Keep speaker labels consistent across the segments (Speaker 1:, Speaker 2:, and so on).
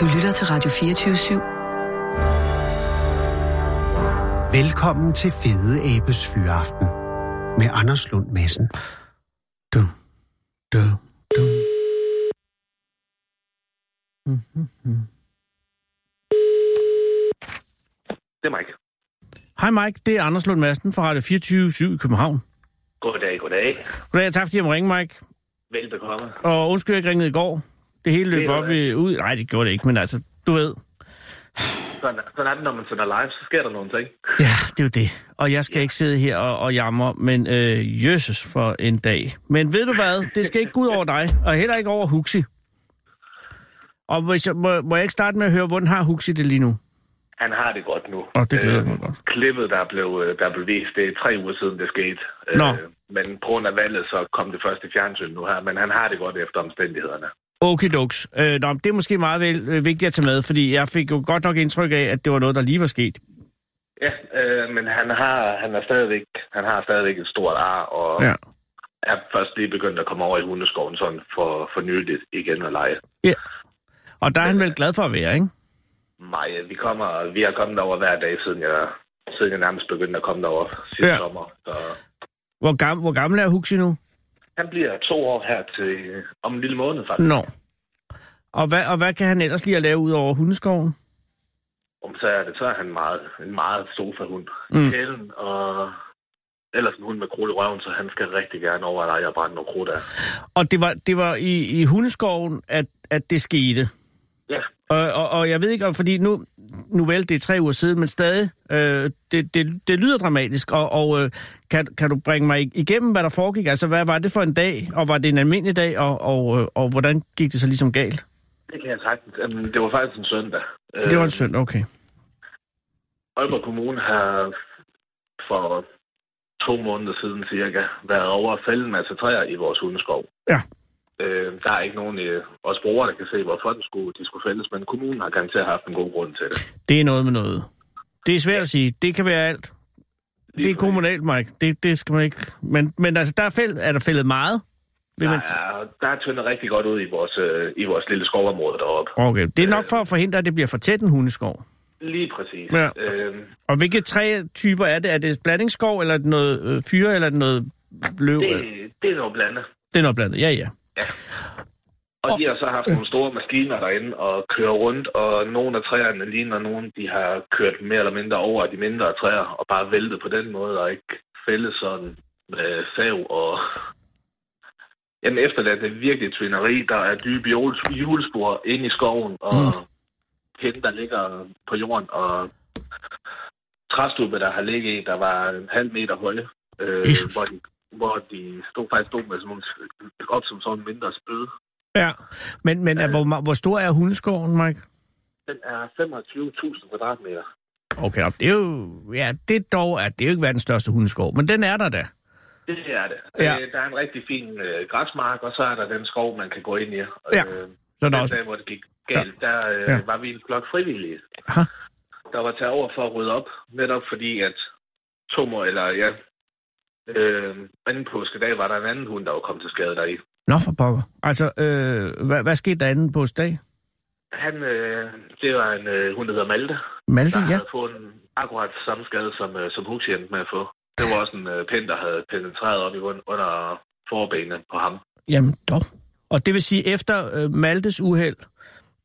Speaker 1: Du lytter til Radio 24 /7.
Speaker 2: Velkommen til Fede Abes Fyraften med Anders Lund Madsen.
Speaker 3: Dum, dum, dum.
Speaker 4: Det er Mike.
Speaker 3: Hej Mike, det er Anders Lund Madsen fra Radio 24 i København.
Speaker 4: Goddag, goddag.
Speaker 3: Goddag, tak fordi jeg må ringe, Mike.
Speaker 4: Velbekomme.
Speaker 3: Og undskyld, jeg ikke ringede i går. Det hele løb
Speaker 4: Det er
Speaker 3: op i, ud. Nej, det gjorde det ikke, men altså, du ved.
Speaker 4: Sådan, sådan er det, når man sender live, så sker der nogle ting.
Speaker 3: Ja, det er jo det. Og jeg skal ikke sidde her og, og jamre, men øh, jøsses for en dag. Men ved du hvad, det skal ikke gå ud over dig, og heller ikke over Huxi. Og hvis jeg, må, må jeg ikke starte med at høre, hvordan har Huxi det lige nu?
Speaker 4: Han har det godt nu.
Speaker 3: Åh, det glæder jeg
Speaker 4: Øh,
Speaker 3: mig godt.
Speaker 4: Klippet, der blev, øh, der blev vist, det er tre uger siden, det skete. Øh,
Speaker 3: Nå.
Speaker 4: Men på grund af valget, så kom det første fjernsyn nu her. Men han har det godt efter omstændighederne.
Speaker 3: Okidoks. Øh, nå, men det er måske meget vel, øh, vigtigt at tage med, fordi jeg fik jo godt nok indtryk af, at det var noget, der lige var sket.
Speaker 4: Ja, øh, men han har, han, er stadigvæk, han har stadigvæk et stort ar, og ja.
Speaker 3: Ja.
Speaker 4: er først lige begyndt at komme over i hundeskoven sådan for, for nyligt igen og lege.
Speaker 3: Og der er han vel glad for at være, ikke?
Speaker 4: Maja, vi kommer, vi har kommet over hver dag, siden jeg, siden jeg nærmest begyndte at komme derover sidste
Speaker 3: Ja.
Speaker 4: ja. sommer. Så
Speaker 3: Hvor, gam, hvor gammel er Huxi nu?
Speaker 4: Han bliver to år her til øh, om en lille måned, faktisk.
Speaker 3: Nå. Og hvad, og hvad kan han ellers lige at lave ud over hundeskoven?
Speaker 4: Om så er det, så er han meget, en meget sofahund.
Speaker 3: Mm.
Speaker 4: Mm. Kælen og ellers en hund med krudt i røven, så han skal rigtig gerne over, at jeg har brændt noget krudt af.
Speaker 3: Og det var, det var i, i hundeskoven, at, at det skete.
Speaker 4: Ja,
Speaker 3: Og, og, og jeg ved ikke, om fordi nu, nu vel, det er tre uger siden, men stadig, øh, det, det, det lyder dramatisk. Og, og øh, kan, kan du bringe mig igennem, hvad der foregik? Altså, hvad var det for en dag, og var det en almindelig dag, og, og, øh, og hvordan gik det så ligesom galt?
Speaker 4: det kan jeg sagtens. Jamen, det var faktisk en søndag.
Speaker 3: Det var en
Speaker 4: Øh,
Speaker 3: søndag, okay.
Speaker 4: Aalborg Kommune har for to måneder siden cirka været over at fælde en masse træer i vores hundeskov.
Speaker 3: Ja.
Speaker 4: Øh, der er ikke nogen, øh, os brugere, der kan se, hvorfor den skulle, de skulle fældes, men kommunen har garanteret haft en god grund til det.
Speaker 3: Det er noget med noget. Det er svært at sige. Det kan være alt. Det er
Speaker 4: Lige præcis.
Speaker 3: kommunalt, Mike. Det, det skal man ikke... Men, men altså, der er, fæld, er der fældet meget? Vil man...
Speaker 4: Der er, der er tyndet rigtig godt ud i vores, øh, i vores lille skovområde deroppe.
Speaker 3: Okay, det er nok for at forhindre, at det bliver for tæt en hundeskov.
Speaker 4: Lige præcis.
Speaker 3: Ja.
Speaker 4: Øhm,
Speaker 3: Og hvilke trætyper er det? Er det blandingsskov, eller er det noget øh, fyre, eller er det noget løv?
Speaker 4: det,
Speaker 3: Det...
Speaker 4: det er noget blandet.
Speaker 3: det er noget blandet, ja, ja.
Speaker 4: Og de har så haft nogle store maskiner derinde og kører rundt, og nogle af træerne ligner nogen, de har kørt mere eller mindre over de mindre træer, og bare væltet på den måde, og ikke fældet sådan med sav og... Jamen efterladt det er virkelig et svineri. Der er dybe hjul- hjulspor ind i skoven, og
Speaker 3: Mm.
Speaker 4: pinde, der ligger på jorden, og træstubbe, der har ligget i, der var en halv meter høje, øh,
Speaker 3: Jesus.
Speaker 4: hvor, de, hvor de stod faktisk stod med som nogle, op som sådan en mindre spyd.
Speaker 3: ja. Men, men er, hvor, ma- hvor stor er hundeskoven, Mike?
Speaker 4: Den er 25.000 kvadratmeter.
Speaker 3: Okay, nå, det er jo... Ja, det er dog er, det er jo ikke verdens største hundeskov, men den er der da.
Speaker 4: Det er det.
Speaker 3: Ja.
Speaker 4: Øh, Der er en rigtig fin øh, græsmark, og så er der den skov, man kan gå ind i. Og,
Speaker 3: Ja.
Speaker 4: Øh,
Speaker 3: Så er der
Speaker 4: den
Speaker 3: også...
Speaker 4: dag, hvor det gik galt, der øh,
Speaker 3: Ja.
Speaker 4: var vi en flok frivillige,
Speaker 3: Aha.
Speaker 4: der var taget over for at rydde op, netop fordi, at tommer, eller ja, øh, anden påskedag var der en anden hund, der var kommet til skade deri.
Speaker 3: Nå for pokker. Altså, øh, hvad, hvad skete der anden påskedag?
Speaker 4: Han, øh, det var en øh, hund, der hedder Malte,
Speaker 3: Malte,
Speaker 4: der
Speaker 3: ja.
Speaker 4: havde fået en akkurat samme skade, som, øh, som Huxi endte med at få. Det var også en øh, pind, der havde penetreret op i grund under forbenet på ham.
Speaker 3: Jamen dog. Og det vil sige, efter øh, Maltes uheld,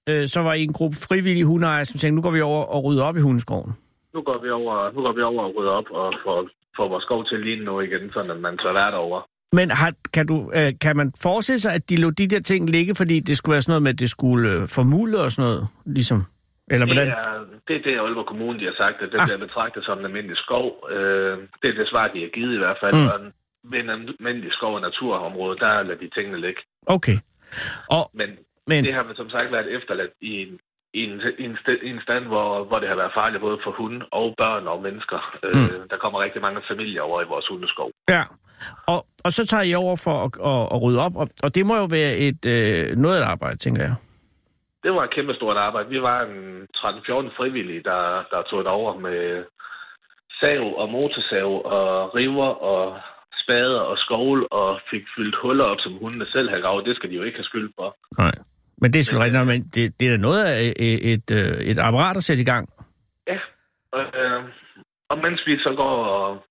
Speaker 3: øh, så var I en gruppe frivillige hundeejere, som tænkte, nu går vi over og rydder op i hundeskoven.
Speaker 4: Nu går vi over, nu går vi over og rydder op og får, får vores skov til lige nu igen, sådan at man tør være derovre.
Speaker 3: Men har, kan, du, øh, kan man forestille sig, at de lå de der ting ligge, fordi det skulle være sådan noget med, at det skulle øh, formulde og sådan noget, ligesom? Eller
Speaker 4: Det
Speaker 3: hvordan?
Speaker 4: er, det er det, Aalborg Kommune de har sagt, at det
Speaker 3: Ah.
Speaker 4: bliver betragtet som en almindelig skov. Øh, det er det svar, de har givet i hvert fald.
Speaker 3: Mm.
Speaker 4: Mm. Og en- ved en almindelig skov- og naturområde, der lader de tingene ligge.
Speaker 3: Okay. Og,
Speaker 4: Men,
Speaker 3: men,
Speaker 4: Men det har vel som sagt været efterladt i en, i en, i en, st- i en stand, hvor, hvor det har været farligt både for hunde og børn og mennesker. Mm. Øh, der kommer rigtig mange familier over i vores hundeskov.
Speaker 3: ja. Og, og så tager I over for at, at, at rydde op, og, og det må jo være et øh, noget af et arbejde, tænker jeg.
Speaker 4: Det var et kæmpe stort arbejde. Vi var en 13-14 frivillige, der, der tog det over med sav og motorsav og river og spader og skovl og fik fyldt huller op, som hundene selv havde gravet. Det skal de jo ikke have skyld for.
Speaker 3: Nej. Men det er selvfølgelig rigtigt, nok, men det, det er da noget af et, et, øh, et apparat at sætte i gang.
Speaker 4: Og, øh, og mens vi så går og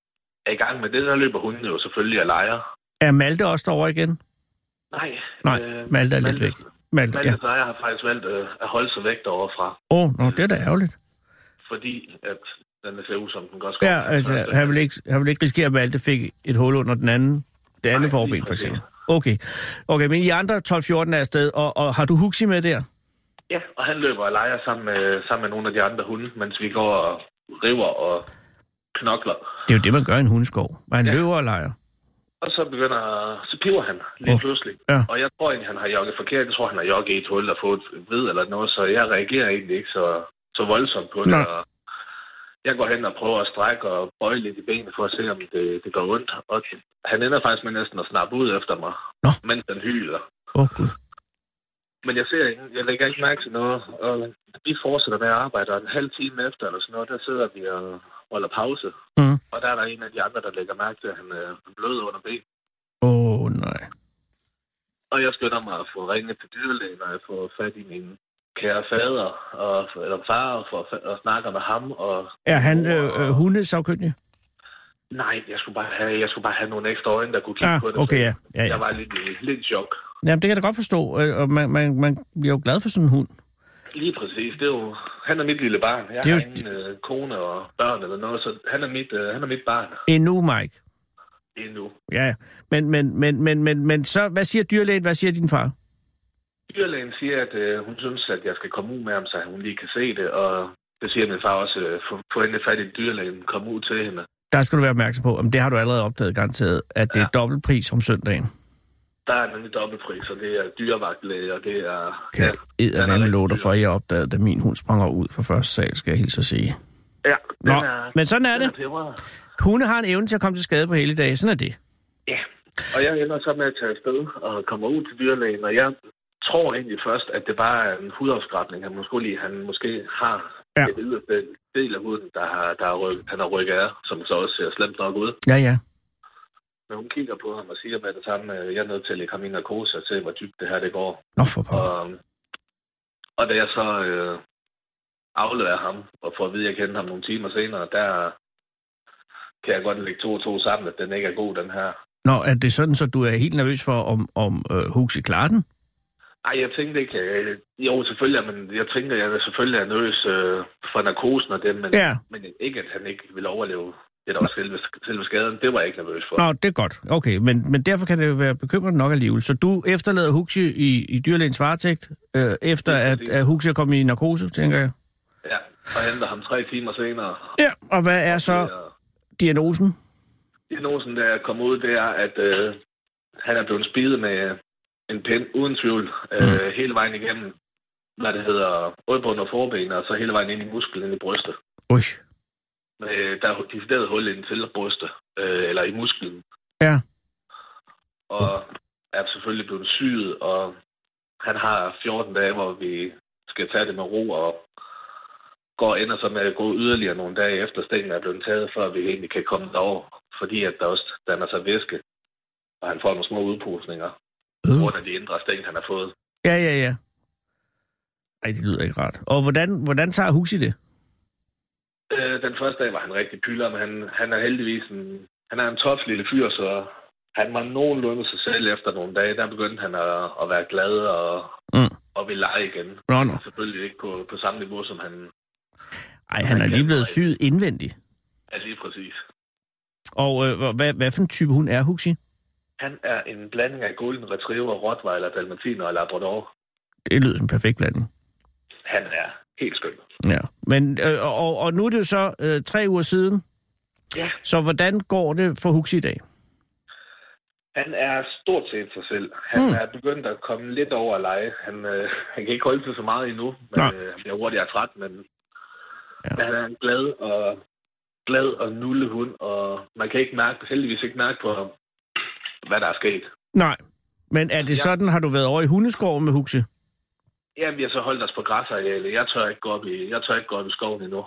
Speaker 4: er i gang med det, så løber hunden jo selvfølgelig og leger.
Speaker 3: Er Malte også derovre igen?
Speaker 4: Nej. øh,
Speaker 3: Nej, Malte er lidt væk. Malte,
Speaker 4: Malte
Speaker 3: ja.
Speaker 4: ja. og jeg har faktisk valgt øh, at holde sig væk derovre fra,
Speaker 3: Åh, oh, nå, det er da ærgerligt.
Speaker 4: fordi at den ser ud, som den godt skal.
Speaker 3: Ja, altså, han vil ikke, han vil ikke risikere, at Malte fik et hul under den anden, det andet
Speaker 4: lige
Speaker 3: forben, for
Speaker 4: præcis.
Speaker 3: eksempel. Okay. Okay, men I andre 12-14 er afsted, og, og har du Huxi med der?
Speaker 4: Ja, og han løber og leger sammen med, sammen med nogle af de andre hunde, mens vi går og river og knokler.
Speaker 3: Det er jo det, man gør i en hundeskov. Man ja. løber og leger.
Speaker 4: Og så begynder, så piver han lige
Speaker 3: Åh,
Speaker 4: oh. pludselig.
Speaker 3: ja.
Speaker 4: Og jeg tror egentlig, han har jogget forkert. Jeg tror, han har jogget i et hul og fået et ved eller noget, så jeg reagerer egentlig ikke så, så voldsomt på det.
Speaker 3: Nej.
Speaker 4: Og jeg går hen og prøver at strække og bøje lidt i benene for at se, om det, det går ondt. Og han ender faktisk med næsten at snappe ud efter mig,
Speaker 3: Nå.
Speaker 4: mens han hyler.
Speaker 3: Åh, oh, gud.
Speaker 4: Men jeg ser ikke, jeg lægger ikke mærke til noget, og vi fortsætter med at arbejde, og en halv time efter eller sådan noget, der sidder vi og holder pause.
Speaker 3: Mhm.
Speaker 4: Og der er der en af de andre, der lægger mærke til, at han øh, er blød under ben.
Speaker 3: Åh, oh, nej.
Speaker 4: Og jeg skynder mig at få ringet til dyrlægen, og jeg får fat i min kære fader, og, eller far, og, får, fa- og snakker med ham, og
Speaker 3: Er han øh, øh, hundesagkyndig?
Speaker 4: nej, jeg skulle bare have, jeg skulle bare have nogle ekstra øjne, der kunne kigge
Speaker 3: Ja,
Speaker 4: på det.
Speaker 3: Ah, okay, ja. ja, ja.
Speaker 4: Jeg var lidt, i- lidt i chok.
Speaker 3: Jamen, det kan jeg da godt forstå, øh, og man, man, man bliver jo glad for sådan en hund.
Speaker 4: Lige præcis. Det er jo, han er mit lille barn. Jeg
Speaker 3: Det er
Speaker 4: har
Speaker 3: jo-
Speaker 4: ingen øh, kone og børn eller noget, så han er mit, øh, han er mit barn
Speaker 3: Endnu, Mike.
Speaker 4: endnu.
Speaker 3: Ja, men, men, men, men, men, men så, hvad siger dyrlægen, hvad siger din far?
Speaker 4: Dyrlægen siger, at øh, hun synes, at jeg skal komme ud med ham, så hun lige kan se det, og det siger min far også, øh, få- få hende fat i dyrlægen, kom ud til hende.
Speaker 3: Der skal du være opmærksom på, om det har du allerede opdaget garanteret, at det er dobbeltpris om søndagen.
Speaker 4: Der er nemlig dobbeltpris, og det er dyrevagtlæge, og det er...
Speaker 3: Kan jeg eddermame
Speaker 4: rigtig
Speaker 3: love dig
Speaker 4: dyr.
Speaker 3: for, at jeg opdagede, da min hund sprang ud fra første sal, skal jeg hilse at sige.
Speaker 4: Ja, den
Speaker 3: Nå,
Speaker 4: er,
Speaker 3: men sådan er
Speaker 4: den er
Speaker 3: det.
Speaker 4: peberet.
Speaker 3: Hunde har en evne til at komme til skade på hele dagen. Sådan er det.
Speaker 4: Ja, og jeg ender så med at tage afsted og kommer ud til dyrlægen, og jeg tror egentlig først, at det bare er en hudafskrabning. Han måske, lige, han måske har
Speaker 3: Ja.
Speaker 4: ja. et lille del af huden, der har, der har ryk, han har rykket af, som så også ser slemt nok ud.
Speaker 3: Ja, ja.
Speaker 4: Men hun kigger på ham og siger med det samme, øh, jeg er nødt til at lægge ham i narkose og se, hvor dybt det her det går.
Speaker 3: Nå, for pokker.
Speaker 4: Og, Øhm, og da jeg så øh, afleverer ham, og får at vide, at jeg kender ham nogle timer senere, der kan jeg godt lægge to og to sammen, at den ikke er god, den her.
Speaker 3: Nå, er det sådan, så du er helt nervøs for, om, om øh, Huxi klarer den?
Speaker 4: Ej, jeg tænkte ikke. Øh, jo, selvfølgelig, men jeg tænker, jeg er selvfølgelig er nervøs øh, for narkosen og det, men,
Speaker 3: Ja.
Speaker 4: men ikke, at han ikke vil overleve. Det er da også selve, selve skaden. Det var jeg ikke nervøs for.
Speaker 3: Nå, det er godt. Okay, men, men derfor kan det jo være bekymrende nok alligevel. Så du efterlader Huxi i, i dyrlægens varetægt, øh, efter
Speaker 4: Lige
Speaker 3: at,
Speaker 4: præcis.
Speaker 3: at Huxi er kommet i narkose, tænker jeg.
Speaker 4: Ja, og henter ham tre timer senere.
Speaker 3: Ja, og hvad er så
Speaker 4: Ja.
Speaker 3: diagnosen?
Speaker 4: Diagnosen, der er kommet ud, det er, at øh, han er blevet spidet med øh, en pind, uden tvivl, øh, hele vejen igennem, hvad det hedder, rødbund og forben, og så hele vejen ind i musklen, ind i brystet.
Speaker 3: Ui,
Speaker 4: Øh, der er decideret hul ind til brystet, øh, eller i musklen.
Speaker 3: Ja.
Speaker 4: Og er selvfølgelig blevet syet, og han har 14 dage, hvor vi skal tage det med ro, og går ender så med at gå yderligere nogle dage efter stenen er blevet taget, før vi egentlig kan komme derover, fordi at der også danner sig væske, og han får nogle små udpusninger,
Speaker 3: øh.
Speaker 4: under de indre sten, han har fået.
Speaker 3: Ja, ja, ja. Ej, det lyder ikke rart. Og hvordan, hvordan tager Huxi det?
Speaker 4: Øh, den første dag var han rigtig pylder, men han, han er heldigvis en, han er en tof lille fyr, så han var nogenlunde sig selv efter nogle dage. Der begyndte han at, at være glad og,
Speaker 3: Mm.
Speaker 4: mm. og ville lege igen.
Speaker 3: Nå, nå.
Speaker 4: Selvfølgelig ikke på, på samme niveau, som han
Speaker 3: Ej, han er lige blevet syet indvendigt.
Speaker 4: er lige præcis.
Speaker 3: Og øh, hvor- hvad, hvad for en type hund er Huxi?
Speaker 4: Han er en blanding af Golden Retriever, Rottweiler, Dalmatiner og Labrador.
Speaker 3: Det lyder som en perfekt blanding.
Speaker 4: Han er helt skøn.
Speaker 3: Ja. Men, øh, og- og, og nu er det jo så øh, tre uger siden.
Speaker 4: Ja.
Speaker 3: Så hvordan går det for Huxi i dag?
Speaker 4: Han er stort set sig selv. Han
Speaker 3: Mm.
Speaker 4: mm. er begyndt at komme lidt over at lege. Han, øh, han kan ikke holde til så meget endnu, men
Speaker 3: Nej.
Speaker 4: øh, han bliver hurtigt træt, men
Speaker 3: Ja.
Speaker 4: ja. han er en glad og glad og nulle hund, og man kan ikke mærke, heldigvis ikke mærke på ham, hvad der er sket.
Speaker 3: Nej. Men er det sådan, har du været over i hundeskoven med Huxi?
Speaker 4: Ja, vi har så holdt os på græsarealet. Jeg tør ikke gå op i, jeg tør ikke gå op i skoven endnu.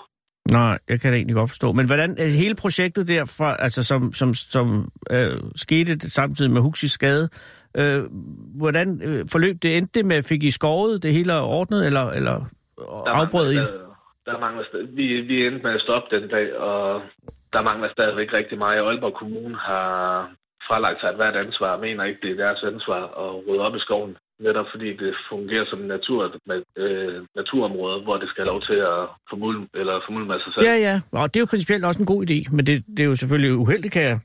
Speaker 3: Nej, jeg kan det egentlig godt forstå. Men hvordan øh, hele projektet der, fra, altså, som, som, som øh, skete det samtidig med Huxis skade, Øh, hvordan øh, forløb det? Endte det med, fik I skovet det hele er ordnet, eller, eller afbrød I?
Speaker 4: Der, der mangler sta- vi, vi endte med at stoppe den dag, og der mangler stadigvæk rigtig meget. Aalborg Kommune har fralagt sig et hvert ansvar, og mener ikke, det er deres ansvar at rydde op i skoven. Netop fordi det fungerer som natur, med, øh, naturområde, hvor det skal have lov til at formulme, eller formulme med sig selv.
Speaker 3: Ja, ja. Og det er jo principielt også en god idé, men det, det er jo selvfølgelig uheldigt, kan jeg,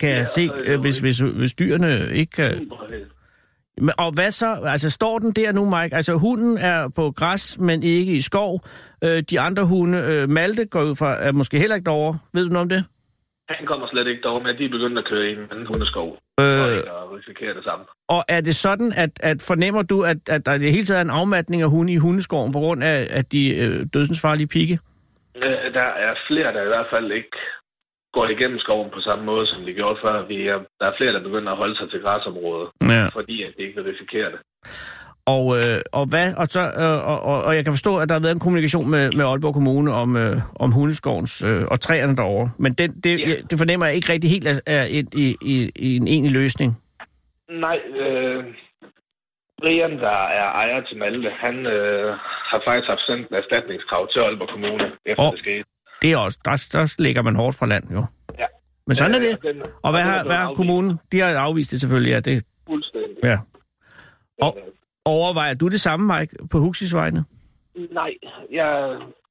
Speaker 3: kan
Speaker 4: Ja,
Speaker 3: jeg se,
Speaker 4: og-
Speaker 3: øh, hvis, hvis, hvis dyrene ikke kan... Men- Og hvad så? Altså, står den der nu, Mike? Altså, hunden er på græs, men ikke i skov. Øh, de andre hunde, øh, Malte, går ud fra, er måske heller ikke derovre. Ved du noget om det?
Speaker 4: Han kommer slet ikke derover, men de er begyndt at køre i en anden hundeskov, og
Speaker 3: Øh,
Speaker 4: ikke at risikere det samme.
Speaker 3: og er det sådan, at, at fornemmer du, at, at der i det hele taget er en afmatning af hunde i hundeskoven på grund af, af de øh, dødsensfarlige pigge?
Speaker 4: Øh, Der er flere, der i hvert fald ikke går igennem skoven på samme måde, som de gjorde før. Vi er, der er flere, der begynder at holde sig til græsområdet,
Speaker 3: Ja.
Speaker 4: fordi at de ikke vil risikere det.
Speaker 3: Og, øh, og, hvad, og, så, øh, og, og, og jeg kan forstå, at der har været en kommunikation med, med Aalborg Kommune om, øh, om hundeskovens øh, og træerne derovre. Men den, det,
Speaker 4: Ja.
Speaker 3: yeah. det fornemmer jeg ikke rigtig helt er, er et, i, i, i en enig løsning.
Speaker 4: Nej, øh, Brian, der er ejer til Malte, han øh, har faktisk haft sendt en erstatningskrav til Aalborg Kommune, efter
Speaker 3: Åh.
Speaker 4: oh. det skete.
Speaker 3: Det er også, der, der ligger man hårdt fra land, jo.
Speaker 4: Ja.
Speaker 3: Men sådan er
Speaker 4: Øh,
Speaker 3: det.
Speaker 4: den-
Speaker 3: Og hvad
Speaker 4: den er
Speaker 3: har,
Speaker 4: blevet
Speaker 3: hvad har
Speaker 4: afvist
Speaker 3: kommunen? De har afvist det selvfølgelig, ja. Det,
Speaker 4: Fuldstændig.
Speaker 3: ja. Og-
Speaker 4: Og...
Speaker 3: Overvejer du det samme, Mike, på Huxis vegne?
Speaker 4: Nej, jeg,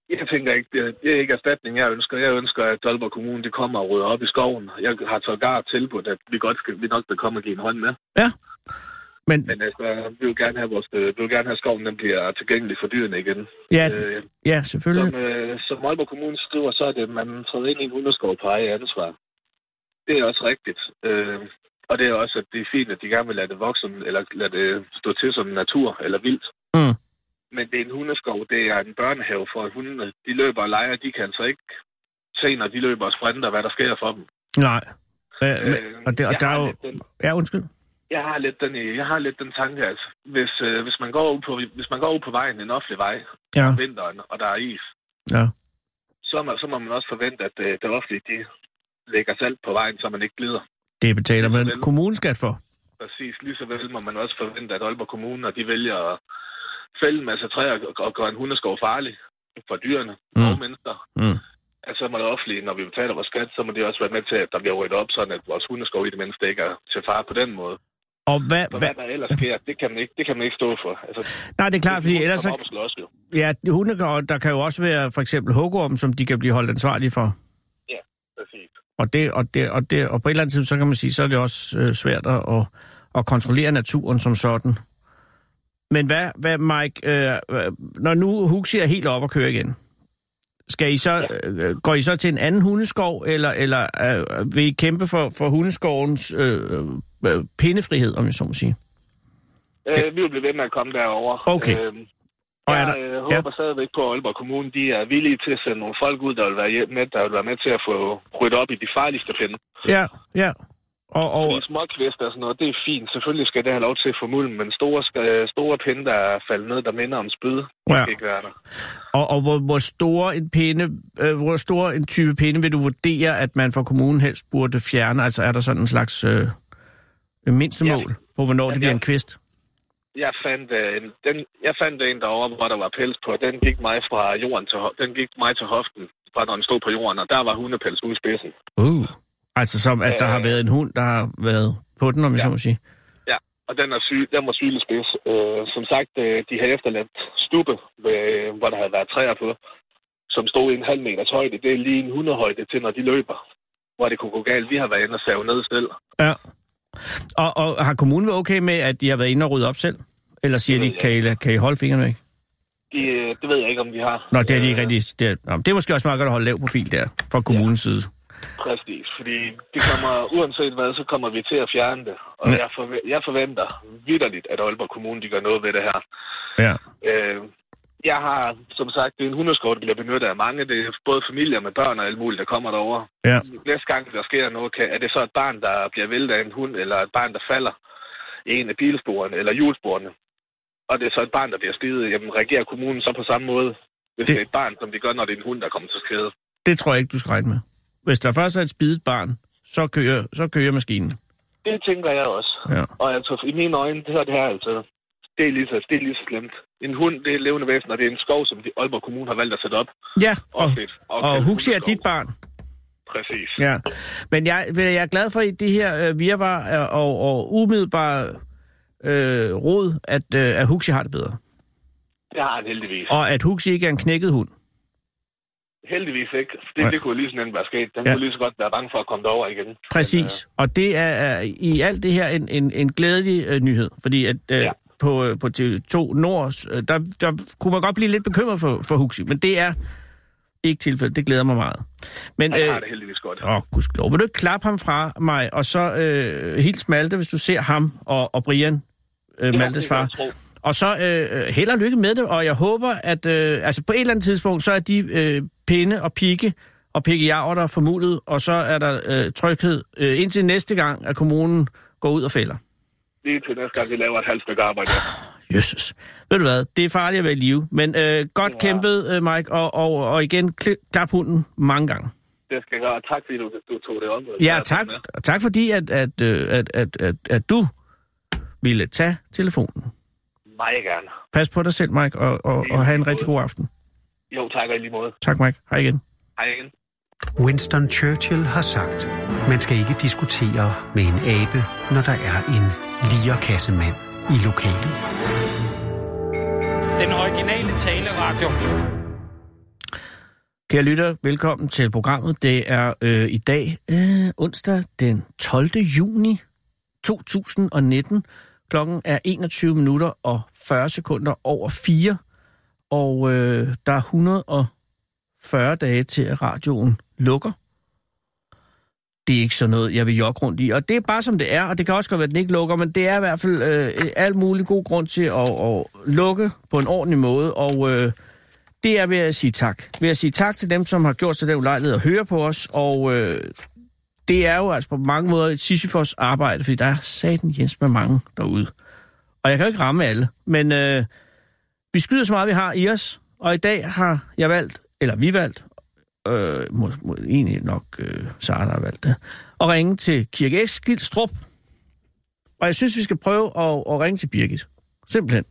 Speaker 4: jeg tænker ikke, det, det er ikke erstatning, jeg ønsker. Jeg ønsker, at Aalborg Kommune de kommer og rydder op i skoven. Jeg har sågar tilbudt, at vi, godt skal, vi nok vil komme og give en hånd med.
Speaker 3: Men
Speaker 4: Men altså, vi vil gerne have, vores, øh, vi vil gerne have skoven, den bliver tilgængelig for dyrene igen.
Speaker 3: ja,
Speaker 4: Øh,
Speaker 3: ja,
Speaker 4: som,
Speaker 3: selvfølgelig.
Speaker 4: øh, som Aalborg Kommune skriver, så er det, at man træder ind i en hundeskov på eget ansvar. Det er også rigtigt. Øh, og det er også, at det er fint, at de gerne vil lade det vokse, som- eller lade det stå til som natur eller vildt.
Speaker 3: Mm.
Speaker 4: Men det er en hundeskov, det er en børnehave for at hundene. De løber og leger, de kan altså ikke se, når de løber og sprinter, hvad der sker for dem.
Speaker 3: Nej. Øh, men-
Speaker 4: Øh,
Speaker 3: og det- og
Speaker 4: jeg
Speaker 3: der er
Speaker 4: har
Speaker 3: jo-
Speaker 4: lidt den-
Speaker 3: Ja, undskyld.
Speaker 4: jeg har lidt den, i- jeg har lidt den tanke, at hvis, øh, hvis, man går ud på, hvis man går ud på vejen, en offentlig vej,
Speaker 3: Ja,
Speaker 4: om vinteren, og der er is,
Speaker 3: ja.
Speaker 4: så, må, så må man også forvente, at øh, det offentlige, de lægger salt på vejen, så man ikke glider.
Speaker 3: Det betaler man kommuneskat for.
Speaker 4: Præcis. Lige så vel må man også forvente, at Aalborg Kommune, når de vælger at fælde en masse træer og, og gøre en hundeskov farlig for dyrene
Speaker 3: Mm.
Speaker 4: mm. og mennesker,
Speaker 3: Mm.
Speaker 4: at så må det offentlige, når vi betaler vores skat, så må de også være med til, at der bliver ryddet op, sådan at vores hundeskov i det mindste ikke er til fare på den måde.
Speaker 3: Og hvad,
Speaker 4: For
Speaker 3: hvad,
Speaker 4: hvad der ellers sker, det kan man ikke, det kan man ikke stå for. Altså,
Speaker 3: Nej, det er klart, fordi ellers...
Speaker 4: så...
Speaker 3: Så,
Speaker 4: Op og slås, jo.
Speaker 3: ja, hunde, kan- og der kan jo også være for eksempel hugorm, som de kan blive holdt ansvarlige for.
Speaker 4: Præcis.
Speaker 3: Og, det, og, det, og, det, og på et eller andet tidspunkt, så kan man sige, så er det også øh, svært at, at, at kontrollere naturen som sådan. Men hvad, hvad Mike, øh, øh, når nu Huxi er helt op og kører igen, skal I så, øh, går I så til en anden hundeskov, eller, eller øh, vil I kæmpe for, for hundeskovens øh, øh, pindefrihed, om jeg så må sige?
Speaker 4: Øh, vi vil blive ved med at komme derover.
Speaker 3: Okay.
Speaker 4: Øh,
Speaker 3: Og
Speaker 4: og
Speaker 3: er
Speaker 4: jeg
Speaker 3: der-
Speaker 4: øh,
Speaker 3: ja.
Speaker 4: håber stadigvæk på, at Aalborg Kommune de er villige til at sende nogle folk ud, der vil være hjem- med, der vil være med til at få ryddet op i de farligste pinde.
Speaker 3: Ja, ja. Og, og,
Speaker 4: Fordi små kvister og sådan noget, det er fint. Selvfølgelig skal det have lov til at få mulden, men store, øh, store pinde, der er faldet ned, der minder om spyd, det
Speaker 3: Ja.
Speaker 4: kan ikke være der.
Speaker 3: Og, og hvor, hvor stor en pinde, øh, hvor stor en type pinde vil du vurdere, at man fra kommunen helst burde fjerne? Altså er der sådan en slags øh, mindstemål ja. på, hvornår det
Speaker 4: Jamen,
Speaker 3: bliver
Speaker 4: jeg-
Speaker 3: en kvist?
Speaker 4: Jeg fandt, øh, en, den, jeg fandt en derovre, hvor der var pels på. Den gik mig fra jorden til, ho- den gik mig til hoften, fra når den stod på jorden, og der var hundepels ude i spidsen.
Speaker 3: Uh. Altså som, at der har
Speaker 4: Øh.
Speaker 3: været en hund, der har været på den, om jeg
Speaker 4: Ja.
Speaker 3: så må sige.
Speaker 4: og den, er sy den var sygelig spids. Øh, som sagt, øh, de havde efterladt stube, øh, hvor der havde været træer på, som stod i en halv meters højde. Det er lige en hundehøjde til, når de løber. Hvor det kunne gå galt. Vi har været inde og save ned selv.
Speaker 3: Ja. Og, og har kommunen været okay med, at de har været inde og rydde op selv? Eller siger
Speaker 4: Det
Speaker 3: de,
Speaker 4: ved
Speaker 3: kan I, kan I holde fingrene væk?
Speaker 4: De, øh, det ved jeg ikke, om vi har.
Speaker 3: Nå, det er de ikke
Speaker 4: Øh,
Speaker 3: rigtig... Det er, nå, men det er måske også meget godt at holde lav profil der, fra kommunens side.
Speaker 4: Præcis, fordi det kommer, uanset hvad, så kommer vi til at fjerne det. Og
Speaker 3: Ja.
Speaker 4: jeg, forve- jeg forventer vidderligt, at Aalborg Kommune de gør noget ved det her.
Speaker 3: Ja.
Speaker 4: Øh, jeg har, som sagt, det er en hundeskov, der bliver benyttet af mange. Det er både familier med børn og alt muligt, der kommer derover.
Speaker 3: Ja.
Speaker 4: Næste gang, der sker noget, kan, er det så et barn, der bliver væltet af en hund, eller et barn, der falder i en af bilsporene, eller hjulsporene. Og det er så et barn, der bliver skidet. Jamen, reagerer kommunen så på samme måde, hvis
Speaker 3: Det-
Speaker 4: det, det er et barn, som de gør, når det er en hund, der kommer til skade?
Speaker 3: Det tror jeg ikke, du skal regne med. Hvis der først er et spidet barn, så kører, så kører maskinen.
Speaker 4: Det tænker jeg også.
Speaker 3: Ja.
Speaker 4: Og altså, i mine øjne, det her, det her altså, det er lige så, det er lige så slemt. En hund, det er et levende væsen, og det er en skov, som de Aalborg Kommune har valgt at sætte op.
Speaker 3: Ja, og,
Speaker 4: Offentligt. Og
Speaker 3: og
Speaker 4: kaldt
Speaker 3: Huxi er
Speaker 4: hundeskov.
Speaker 3: dit barn.
Speaker 4: Præcis.
Speaker 3: Ja. Men jeg, ved du, jeg er glad for, at det her øh, virvar og, og, og umiddelbare øh, råd, at, øh, at Huxi har det bedre.
Speaker 4: Det har han heldigvis.
Speaker 3: Og at Huxi ikke er en knækket hund.
Speaker 4: Heldigvis ikke. Det, det kunne lige så nemt være sket. Den
Speaker 3: Ja.
Speaker 4: ja. kunne lige så godt være bange for at komme derover igen. øh,
Speaker 3: Præcis. Og det er, er i alt det her en, en, en glædelig øh, nyhed, fordi at øh, ja.
Speaker 4: Ja.
Speaker 3: på, øh, på TV2 Nord, øh, der, der kunne man godt blive lidt bekymret for, for Huxi, men det er ikke tilfældet. Det glæder mig meget. Men,
Speaker 4: Men, øh, jeg har det heldigvis godt.
Speaker 3: Åh, gudskelov. Vil du ikke klappe ham fra mig, og så øh, helt smalte, hvis du ser ham og, og Brian, øh,
Speaker 4: Det må
Speaker 3: Maltes
Speaker 4: man
Speaker 3: far.
Speaker 4: godt tro.
Speaker 3: Og så øh, held og lykke med det, og jeg håber, at øh, altså på et eller andet tidspunkt, så er de øh, pinde og pigge og pikkejavre, der er formulet, og så er der øh, tryghed øh, indtil næste gang, at kommunen går ud og fælder.
Speaker 4: Lige til næste gang, vi laver et halvt stykke arbejde.
Speaker 3: Jesus. Ved du hvad, det er farligt at være i live, men øh, godt ja.
Speaker 4: Ja.
Speaker 3: kæmpet, øh, Mike, og, og, og igen, kli- klap hunden mange gange.
Speaker 4: Det skal jeg gøre. Tak, fordi du, du tog det om.
Speaker 3: Ja, tak, og tak fordi, at, at, øh, at, at, at, at du ville tage telefonen.
Speaker 4: Meget gerne.
Speaker 3: Pas på dig selv, Mike, og, og, og have en rigtig god aften.
Speaker 4: Jo, tak og i lige måde.
Speaker 3: Tak, Mike. Hej igen.
Speaker 4: Hej igen.
Speaker 2: Winston Churchill har sagt, man skal ikke diskutere med en abe, når der er en lierkassemand i lokalet.
Speaker 5: Den originale taleradio.
Speaker 3: Kære lytter, velkommen til programmet. Det er øh, i dag øh, onsdag den 12. juni 2019. Klokken er 21 minutter og 40 sekunder over 4. Og øh, der er 140 dage til, at radioen lukker. Det er ikke sådan noget, jeg vil jogge rundt i. Og det er bare som det er, og det kan også godt være, at den ikke lukker, men det er i hvert fald øh, alt muligt god grund til at, at lukke på en ordentlig måde. Og... Øh, det er ved at sige tak. Ved at sige tak til dem, som har gjort sig den ulejlighed at høre på os, og øh, det er jo altså på mange måder et Sisyfos arbejde, fordi der er satan Jens med mange derude. Og jeg kan jo ikke ramme alle, men øh, vi skyder så meget, vi har i os, og i dag har jeg valgt, eller vi valgt, øh, må, må, egentlig nok øh, Sara, der har valgt det, at ringe til Kirke Eskildstrup. Og jeg synes, vi skal prøve at, at ringe til Birgit. Simpelthen.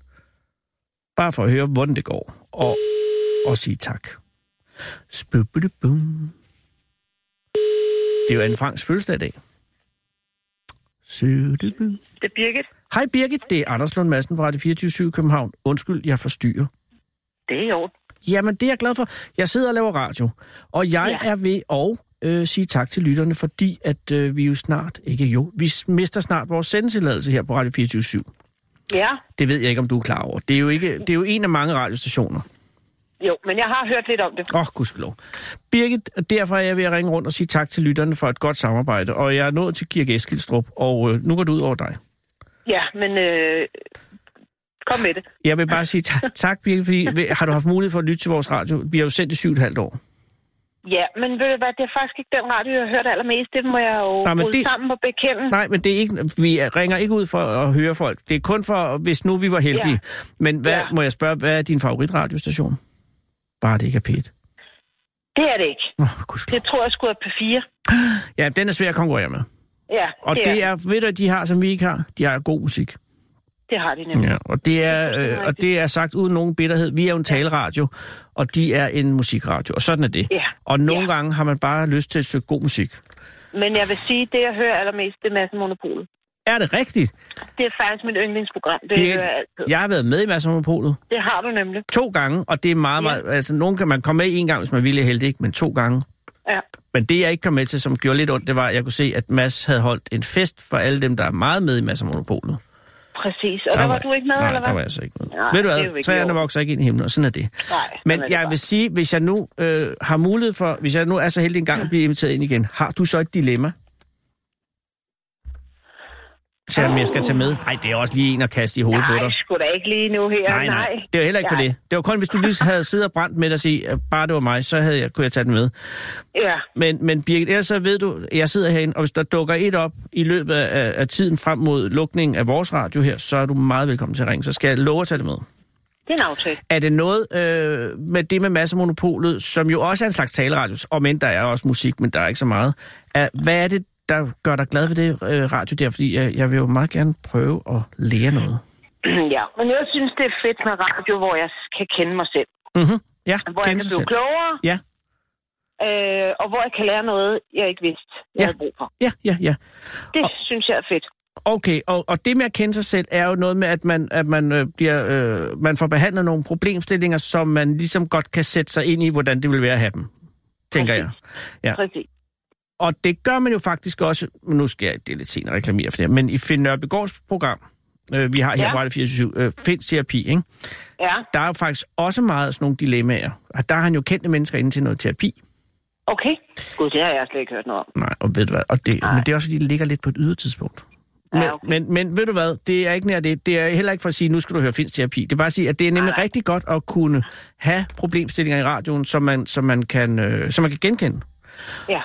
Speaker 3: Bare for at høre, hvordan det går. Og, og sige tak. Spubudubum. Det er jo Anne Franks fødselsdag i dag. Sudubum.
Speaker 6: Det er Birgit.
Speaker 3: Hej Birgit, det er Anders Lund Madsen fra Radio 24 København. Undskyld, jeg forstyrrer.
Speaker 6: Det er i orden.
Speaker 3: Jamen, det er jeg glad for. Jeg sidder og laver radio, og jeg ja.
Speaker 6: Ja.
Speaker 3: er ved at øh, sige tak til lytterne, fordi at øh, vi jo snart, ikke jo, vi s- mister snart vores sendetilladelse her på Radio 24
Speaker 6: Ja,
Speaker 3: Det ved jeg ikke, om du er klar over. Det er jo, ikke, det er jo en af mange radiostationer.
Speaker 6: jo, men jeg har hørt lidt om det.
Speaker 3: Åh, oh, gudskelov. Birgit, derfor er jeg ved at ringe rundt og sige tak til lytterne for et godt samarbejde, og jeg er nået til Kirke Eskildstrup, og øh, nu går det ud over dig.
Speaker 6: Ja, men øh, kom med det.
Speaker 3: Jeg vil bare sige tak, tak Birgit, fordi ved- har du haft mulighed for at lytte til vores radio? Vi har jo sendt i syv og et halvt år.
Speaker 6: Ja, men ved du hvad, det er faktisk ikke den radio, jeg har hørt allermest. Det må jeg jo
Speaker 3: Nej,
Speaker 6: Nej,
Speaker 3: men
Speaker 6: rulle
Speaker 3: det-
Speaker 6: det... sammen og bekende. Nej.
Speaker 3: Nej, men det er ikke, vi ringer ikke ud for at høre folk. Det er kun for, hvis nu vi var heldige. Ja.
Speaker 6: Ja.
Speaker 3: Men hvad, ja.
Speaker 6: Ja.
Speaker 3: må jeg spørge, hvad er din favoritradiostation? Bare det ikke er pæt.
Speaker 6: Det er det ikke.
Speaker 3: Oh, gudskelov.
Speaker 6: Det tror jeg skulle er på 4.
Speaker 3: ja, den er svær at konkurrere med.
Speaker 6: Ja,
Speaker 3: Og det er, det er ved du, hvad de har, som vi ikke har, de har god musik.
Speaker 6: det har de nemlig.
Speaker 3: Ja, og det er, øh, og det er sagt uden nogen bitterhed. Vi er jo en taleradio, og de er en musikradio, og sådan er det.
Speaker 6: Ja.
Speaker 3: Og nogle
Speaker 6: Ja.
Speaker 3: gange har man bare lyst til et stykke god musik.
Speaker 6: Men jeg vil sige, det jeg hører allermest, det er Madsen Monopolet.
Speaker 3: Er det rigtigt?
Speaker 6: Det er faktisk mit yndlingsprogram. Det,
Speaker 3: Det-
Speaker 6: det... hører jeg altid. Ja.
Speaker 3: Jeg har været med i Mads Monopolet
Speaker 6: Det har du nemlig.
Speaker 3: to gange, og det er meget,
Speaker 6: Ja.
Speaker 3: meget... Altså, nogen kan man komme med en gang, hvis man ville heldig, ikke? Men to gange.
Speaker 6: Ja.
Speaker 3: Men det, jeg ikke kom med til, som gjorde lidt ondt, det var, at jeg kunne se, at Mads havde holdt en fest for alle dem, der er meget med i Mads Monopolet.
Speaker 6: Præcis. Og der, der var du ikke med,
Speaker 3: nej,
Speaker 6: eller hvad?
Speaker 3: der var jeg så ikke med.
Speaker 6: Nej,
Speaker 3: Ved du
Speaker 6: det er jo
Speaker 3: hvad,
Speaker 6: ikke
Speaker 3: træerne
Speaker 6: i orden.
Speaker 3: vokser ikke ind i himlen, og sådan er det.
Speaker 6: Nej,
Speaker 3: Men
Speaker 6: sådan er det
Speaker 3: jeg
Speaker 6: bare.
Speaker 3: vil sige, hvis jeg nu øh, har mulighed for, hvis jeg nu er så heldig en gang at blive inviteret ind igen, har du så et dilemma? Selvom jeg skal tage med. Nej, det er også lige en at kaste i hovedet på
Speaker 6: Nej,
Speaker 3: dig.
Speaker 6: sgu da ikke lige nu her.
Speaker 3: Nej, nej. Det er jo heller ikke for
Speaker 6: Nej.
Speaker 3: det. Det var kun, hvis du lige havde siddet og brændt med dig og sige, at bare det var mig, så havde jeg, kunne jeg tage den med.
Speaker 6: Ja,
Speaker 3: Men, men Birgit, ellers så ved du, jeg sidder herinde, og hvis der dukker et op i løbet af, af tiden frem mod lukningen af vores radio her, så er du meget velkommen til at ringe. Så skal jeg love at tage det med.
Speaker 6: det er en aftale.
Speaker 3: Er det noget øh, med det med massemonopolet, som jo også er en slags taleradio, og men der er også musik, men der er ikke så meget. Er, hvad er det, der gør dig glad ved det øh, radio der? Fordi jeg, jeg vil jo meget gerne prøve at lære noget.
Speaker 7: ja, men jeg synes, det er fedt med radio, hvor jeg kan kende mig selv.
Speaker 3: Mm-hmm. Ja,
Speaker 7: Hvor jeg
Speaker 3: kende
Speaker 7: kan
Speaker 3: sig selv.
Speaker 7: blive klogere,
Speaker 3: Ja,
Speaker 7: øh, og hvor jeg kan lære noget, jeg ikke vidste,
Speaker 3: Ja.
Speaker 7: jeg ja. havde brug for.
Speaker 3: ja, ja, ja.
Speaker 7: Det
Speaker 3: Og-
Speaker 7: synes jeg er fedt.
Speaker 3: Okay, og, og det med at kende sig selv er jo noget med, at man, at man, øh, bliver, øh, man får behandlet nogle problemstillinger, som man ligesom godt kan sætte sig ind i, hvordan det vil være at have dem, tænker jeg. Ja.
Speaker 7: Præcis.
Speaker 3: Og det gør man jo faktisk også, men nu skal jeg det er lidt senere reklamere for det, her, men i Finn Nørbegaards program, øh, vi har her
Speaker 7: Ja.
Speaker 3: på Radio 24 øh, Finds Terapi, ikke?
Speaker 7: Ja,
Speaker 3: der er jo faktisk også meget af sådan nogle dilemmaer. Og der har han jo kendte mennesker inde til noget terapi.
Speaker 7: okay. Gud, det har jeg slet ikke hørt noget om.
Speaker 3: Nej, og ved du hvad, og det,
Speaker 7: Nej.
Speaker 3: men det er også fordi, det ligger lidt på et ydertidspunkt.
Speaker 7: Ja,
Speaker 3: Men,
Speaker 7: okay.
Speaker 3: men, men ved du hvad, det er ikke nær det. Det er heller ikke for at sige, nu skal du høre finsk terapi. Det er bare at sige, at det er nemlig
Speaker 7: Nej.
Speaker 3: rigtig godt at kunne have problemstillinger i radioen, som man, som man, kan, øh, som man kan genkende.
Speaker 7: Ja,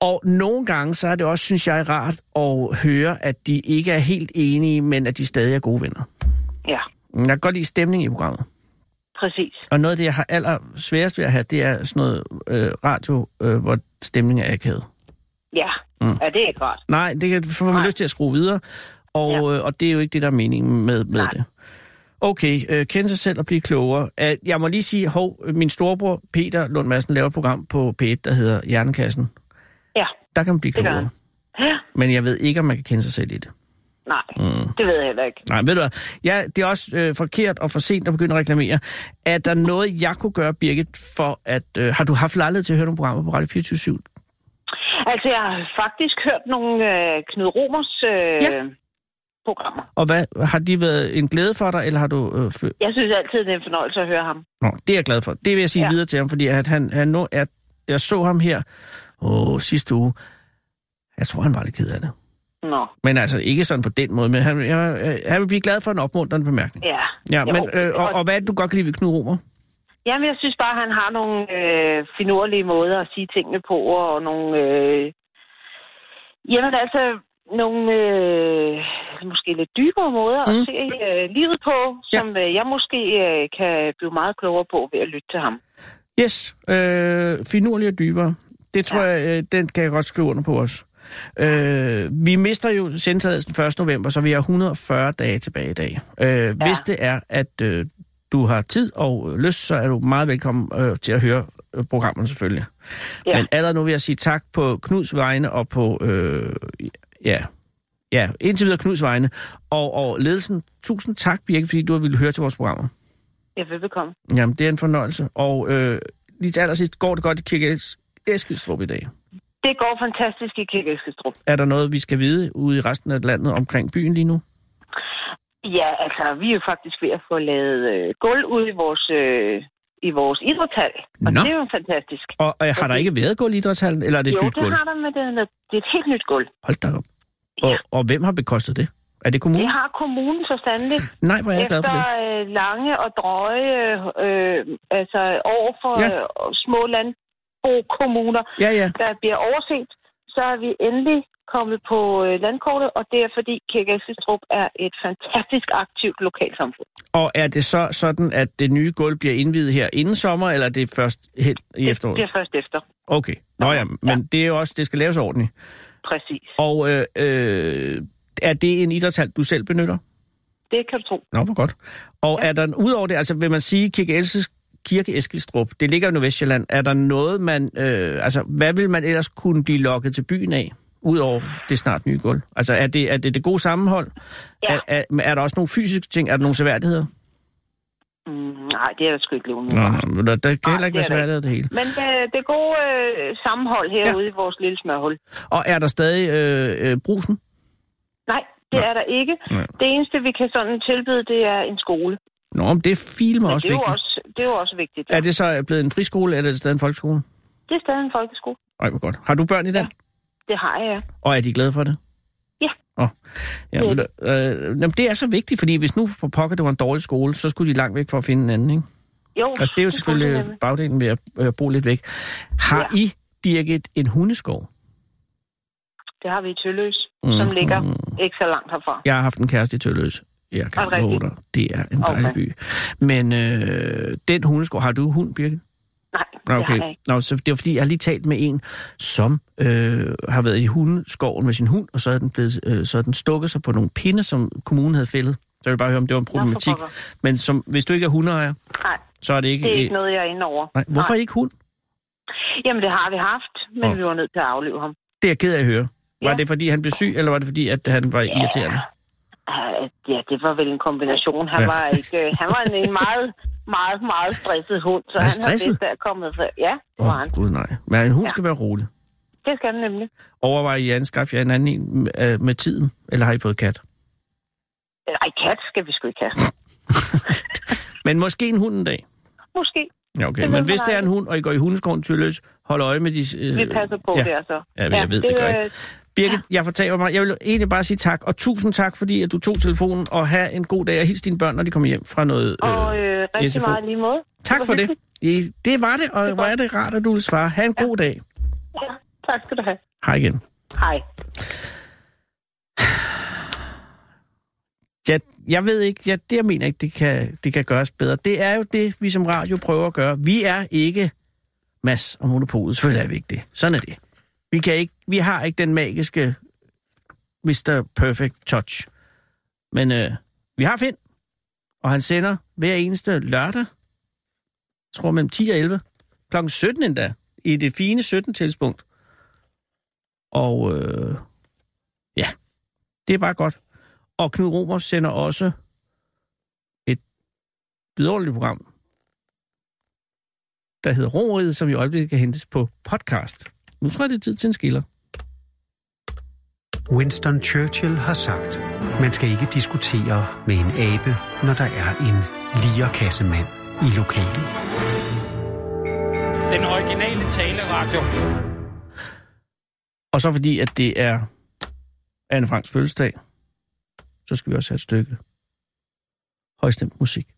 Speaker 3: Og nogle gange, så er det også, synes jeg, rart at høre, at de ikke er helt enige, men at de stadig er gode venner.
Speaker 7: ja,
Speaker 3: Jeg kan godt lide stemning i programmet.
Speaker 7: præcis.
Speaker 3: Og noget af det, jeg har aller sværest ved at have, det er sådan noget øh, radio, øh, hvor stemningen er akavet.
Speaker 7: Ja,
Speaker 3: Mm.
Speaker 7: mm. ja det er ikke godt.
Speaker 3: Nej, det kan, så får man
Speaker 7: Nej.
Speaker 3: lyst til at skrue videre, og,
Speaker 7: Ja.
Speaker 3: øh, og det er jo ikke det, der er meningen med, med
Speaker 7: Nej.
Speaker 3: det. Okay, øh, kend sig selv og blive klogere. Øh, Jeg må lige sige, hov, min storebror Peter Lund Madsen laver et program på P1, der hedder Hjernekassen.
Speaker 7: Ja,
Speaker 3: Der kan man blive
Speaker 7: Det gør
Speaker 3: klogere,
Speaker 7: ja.
Speaker 3: men jeg ved ikke, om man kan kende sig selv i det.
Speaker 7: nej, mm. det ved jeg heller ikke.
Speaker 3: Nej, ved du hvad? Ja, det er også øh, forkert og for sent at begynde at reklamere. Er der noget, jeg kunne gøre, Birgit, for at... Øh, har du haft lejlighed til at høre nogle programmer på Radio 24
Speaker 7: Altså, jeg har faktisk hørt nogle øh, Knud Romers øh,
Speaker 3: Ja.
Speaker 7: ja. programmer.
Speaker 3: Og hvad, har de været en glæde for dig, eller har du... Øh, fø-
Speaker 7: Jeg synes altid, det er en fornøjelse at høre ham.
Speaker 3: Nå, det er jeg glad for. Det vil jeg sige ja.
Speaker 7: Ja.
Speaker 3: videre til ham, fordi at han, han nu er, jeg så ham her åh, sidste uge. Jeg tror, han var lidt ked af det.
Speaker 7: Nå,
Speaker 3: Men altså ikke sådan på den måde, men han, jeg, øh, han vil blive glad for en opmuntrende bemærkning.
Speaker 7: ja.
Speaker 3: Ja,
Speaker 7: Jo,
Speaker 3: men, øh, og,
Speaker 7: og-
Speaker 3: og hvad er det, du godt kan lide ved Knud Romer?
Speaker 7: Jamen, jeg synes bare, han har nogle øh, finurlige måder at sige tingene på, og nogle... Øh, jamen, altså, nogle øh, måske lidt dybere måder mm.
Speaker 3: Mm.
Speaker 7: at se øh, livet på, som øh, jeg måske øh, kan blive meget klogere på ved at lytte til ham.
Speaker 3: Yes, øh, finurlig og dybere. Det tror ja. jeg, øh, den kan jeg godt skrive under på os. Øh, vi mister jo sendtagelsen 1. november, så vi har 140 dage tilbage i dag. Øh, ja. Hvis det er, at øh, du har tid og øh, lyst, så er du meget velkommen øh, til at høre øh, programmerne selvfølgelig. Ja.
Speaker 7: Ja.
Speaker 3: Men allerede nu vil jeg sige tak på Knuds vegne og på... Øh, ja, ja, indtil videre Knuds vegne. Og, og ledelsen, tusind tak, Birke, fordi du har ville høre til vores programmer.
Speaker 7: Jeg vil velkommen.
Speaker 3: Jamen, det er en fornøjelse. Og øh, lige til allersidst, går det godt i Kirke Es- Eskilstrup i dag?
Speaker 7: Det går fantastisk i Kirkeskastrup.
Speaker 3: Er der noget, vi skal vide ude i resten af landet omkring byen lige nu?
Speaker 7: Ja, altså, vi er jo faktisk ved at få lavet øh, gulv ud i vores, øh, i vores idrætshal, og
Speaker 3: Nå.
Speaker 7: det er jo fantastisk.
Speaker 3: Og, og har der ikke været gulv i idrætshallen, eller er det et
Speaker 7: jo,
Speaker 3: nyt
Speaker 7: det
Speaker 3: gulv?
Speaker 7: har der, men det er, det er et helt nyt gulv.
Speaker 3: Hold da op. Og, og hvem har bekostet det? Er det kommunen?
Speaker 7: Det har kommunen så sandeligt.
Speaker 3: Nej, hvor er jeg glad for
Speaker 7: Efter
Speaker 3: det.
Speaker 7: øh, lange og drøje øh, altså over for
Speaker 3: Ja.
Speaker 7: ja. øh, små landbokommuner,
Speaker 3: Ja, ja.
Speaker 7: der bliver overset, så er vi endelig kommet på øh, landkortet, og det er fordi Kirke Eskilstrup er et fantastisk aktivt lokalsamfund.
Speaker 3: Og er det så sådan, at det nye gulv bliver indvidet her inden sommer, eller er det først hen i
Speaker 7: Det
Speaker 3: efteråret?
Speaker 7: bliver først efter.
Speaker 3: Okay. Nå ja, men det er jo også, det skal laves ordentligt.
Speaker 7: Præcis.
Speaker 3: Og øh, øh, er det en idrætshal, du selv benytter?
Speaker 7: Det kan du tro.
Speaker 3: Nå, hvor godt. Og ja. er der, udover det, altså vil man sige, Kirke, Elses, Kirke Eskilstrup, det ligger jo i Nordvestjylland, er der noget, man, øh, altså hvad vil man ellers kunne blive lokket til byen af, udover det snart nye gulv? Altså er det er det, det gode sammenhold?
Speaker 7: Ja.
Speaker 3: Er, er, er der også nogle fysiske ting? Er der nogle seværdigheder?
Speaker 7: Mm, nej, det er jeg sgu ikke lige nu.
Speaker 3: Nå, nå, der, der kan
Speaker 7: Nej,
Speaker 3: heller ikke
Speaker 7: det er der
Speaker 3: være seværdigheder af det hele.
Speaker 7: Men øh, det gode øh, sammenhold herude ja. i vores lille smørhul.
Speaker 3: Og er der stadig øh, øh, brusen?
Speaker 7: Nej, det er der ikke.
Speaker 3: Nej.
Speaker 7: Det eneste, vi kan sådan tilbyde, det er en skole.
Speaker 3: Nå, men det filmer
Speaker 7: Men
Speaker 3: også
Speaker 7: det er, jo
Speaker 3: vigtigt.
Speaker 7: også, det er jo også vigtigt. Ja.
Speaker 3: Er det så blevet en friskole, eller er det stadig en folkeskole?
Speaker 7: det er stadig en folkeskole.
Speaker 3: Ej, hvor godt. Har du børn i den?
Speaker 7: Det har jeg, ja.
Speaker 3: Og er de glade for det?
Speaker 7: Ja.
Speaker 3: Oh. Ja,
Speaker 7: Det er
Speaker 3: men, øh, jamen, det er så vigtigt, fordi hvis nu for pokker det var en dårlig skole, så skulle de langt væk for at finde en anden, ikke?
Speaker 7: Jo,
Speaker 3: Altså, det er jo
Speaker 7: skulle det
Speaker 3: selvfølgelig
Speaker 7: nemlig.
Speaker 3: bagdelen ved at øh, bo lidt væk. Har ja. I, Birgit, en hundeskov?
Speaker 7: Det har vi i Tølløs, mm-hmm.
Speaker 3: Mhm.
Speaker 7: som ligger ikke så langt herfra.
Speaker 3: Jeg har haft en kæreste i Tølløs. Jeg kan
Speaker 7: Er det
Speaker 3: love
Speaker 7: rigtigt?
Speaker 3: dig, det er en dejlig
Speaker 7: Okay.
Speaker 3: by. Men øh, den hundeskov, har du hund, Birgit?
Speaker 7: Nej,
Speaker 3: Nå,
Speaker 6: Det har
Speaker 3: Okay.
Speaker 6: jeg ikke.
Speaker 3: Nå, så det var fordi, jeg har lige talt med en, som øh, har været i hundeskoven med sin hund, og så er den, blevet, øh, så er den stukket sig på nogle pinde, som kommunen havde fældet. Så vil jeg bare høre, om det var en
Speaker 6: for
Speaker 3: problematik.
Speaker 6: pokker.
Speaker 3: Men som, hvis du ikke er hundeejer,
Speaker 6: Nej,
Speaker 3: så er det ikke...
Speaker 6: det er
Speaker 3: øh,
Speaker 6: ikke noget, jeg er inde over.
Speaker 3: nej. Hvorfor ikke hund?
Speaker 6: Jamen, det har vi haft, men
Speaker 3: Nå.
Speaker 6: vi var nødt til at aflive ham.
Speaker 3: Det er jeg ked af at høre. Var
Speaker 6: Ja.
Speaker 3: det fordi, han blev syg, eller var det fordi, at han var irriterende?
Speaker 6: Ah, Ja, det var vel en kombination. Han
Speaker 3: Ja.
Speaker 6: ja. var ikke, øh, han var en, en meget, meget, meget stresset hund, så
Speaker 3: Er
Speaker 6: han
Speaker 3: stresset?
Speaker 6: har bedst af kommet fra. Ja, det
Speaker 3: Åh,
Speaker 6: var
Speaker 3: oh,
Speaker 6: han.
Speaker 3: gud nej. Men en hund
Speaker 6: Ja.
Speaker 3: skal være rolig.
Speaker 6: Det skal han nemlig.
Speaker 3: Overvejer I at anskaffe jer en anden en øh, med tiden, eller har I fået kat?
Speaker 6: Nej, Øh, kat skal vi sgu ikke have.
Speaker 3: Men måske en hund en dag.
Speaker 6: Måske.
Speaker 3: Ja,
Speaker 6: Det
Speaker 3: okay.
Speaker 6: ved
Speaker 3: Men
Speaker 6: man
Speaker 3: hvis det er en
Speaker 6: aldrig.
Speaker 3: hund, og I går i hundeskoven til løs, hold øje med de... øh,
Speaker 6: Vi passer på
Speaker 3: ja.
Speaker 6: ja. der så.
Speaker 3: Ja, men jeg ved, det gør
Speaker 6: øh,
Speaker 3: Birgit, jeg fortaber mig. Jeg vil egentlig bare sige tak, og tusind tak, fordi at du tog telefonen, og have en god dag, og hils dine børn, når de kommer hjem fra noget...
Speaker 6: Og øh, rigtig
Speaker 3: SFO.
Speaker 6: meget lige måde.
Speaker 3: tak
Speaker 6: var
Speaker 3: for det.
Speaker 6: hyggeligt.
Speaker 3: I- Det var det, og hvor er det rart, at du vil svare. Ha' en god dag.
Speaker 6: Ja, tak skal du have.
Speaker 3: Hej igen.
Speaker 6: Hej.
Speaker 3: Jeg, jeg ved ikke, jeg, det jeg mener ikke, det kan, det kan gøres bedre. Det er jo det, vi som radio prøver at gøre. Vi er ikke mas og monopolet. Selvfølgelig er vi ikke det. Sådan er det. Vi, kan ikke, vi har ikke den magiske Mr. Perfect Touch. Men øh, vi har Finn, og han sender hver eneste lørdag, jeg tror mellem 10 og 11, kl. 17 endda, i det fine 17-tidspunkt. Og øh, ja, det er bare godt. Og Knud Romer sender også et vidunderligt program, der hedder Romeriet, som i øjeblikket kan hentes på podcast. Nu tror jeg, det er tid til en skiller.
Speaker 2: Winston Churchill har sagt, man skal ikke diskutere med en abe, når der er en lierkassemand i lokalet.
Speaker 5: Den originale taleradio.
Speaker 3: Og så fordi, at det er Anne Franks fødselsdag, så skal vi også have et stykke højstemt musik.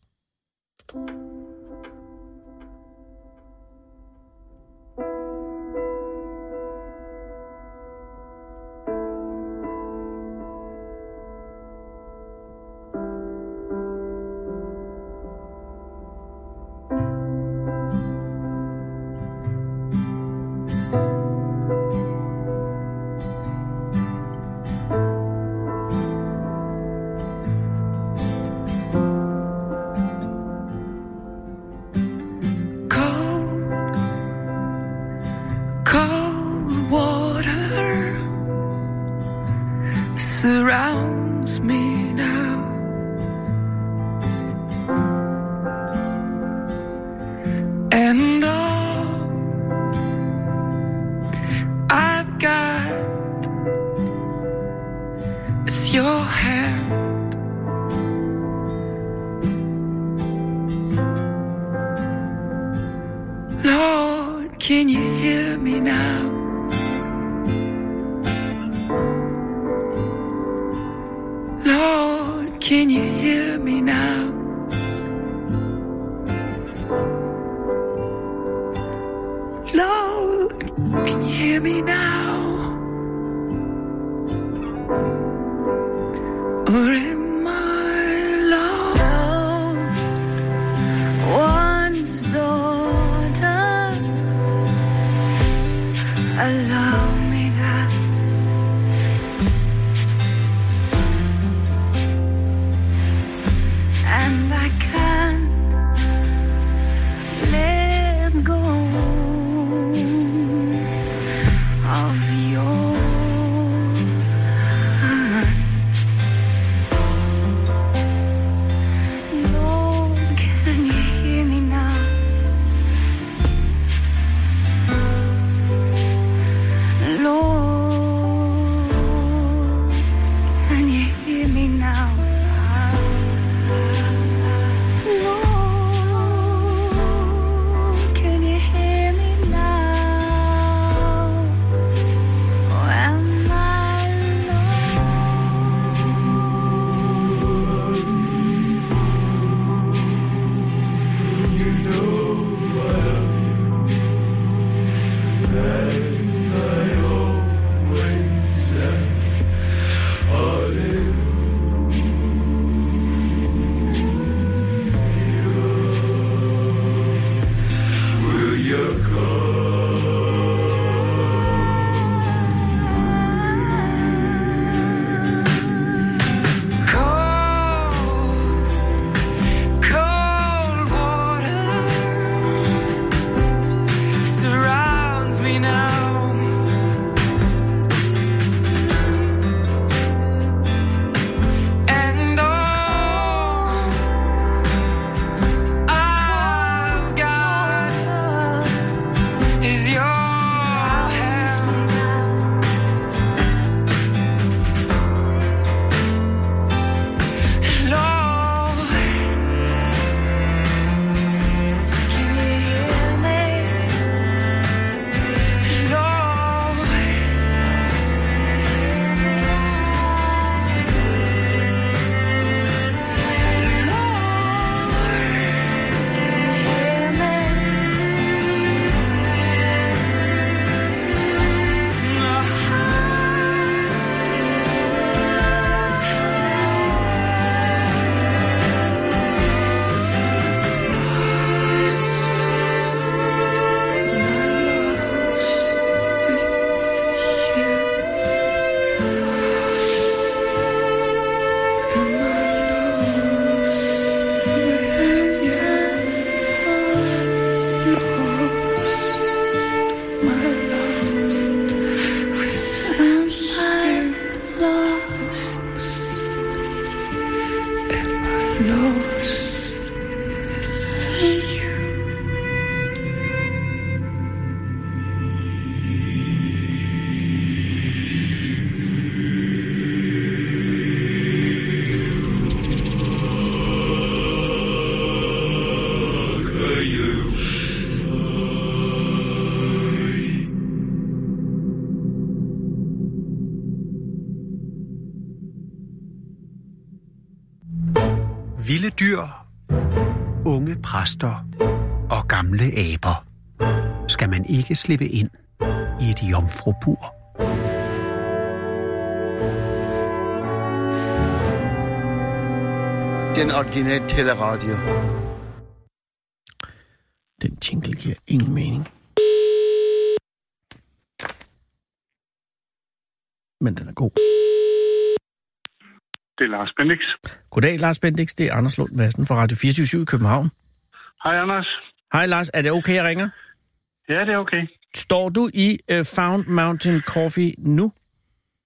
Speaker 8: Cold, cold water surrounds me now. And all I've got is your hand. Lord, can you hear me now? Lord, can you hear me now? Lord, can you hear me now? Or am I lost?
Speaker 9: one's daughter. Allow me that. And I can't let go
Speaker 2: Vilde dyr, unge præster og gamle aber skal man ikke slippe ind i et jomfrubur.
Speaker 10: Den originale teleradio.
Speaker 3: Den jingle giver ingen mening. Men den er god.
Speaker 11: Det er Lars Bendix.
Speaker 3: Goddag, Lars Bendix. Det er Anders Lund Madsen fra Radio 24 i København.
Speaker 11: Hej, Anders.
Speaker 3: Hej, Lars. Er det okay, jeg ringer?
Speaker 11: Ja, det er okay.
Speaker 3: Står du i uh, Found Mountain Coffee nu?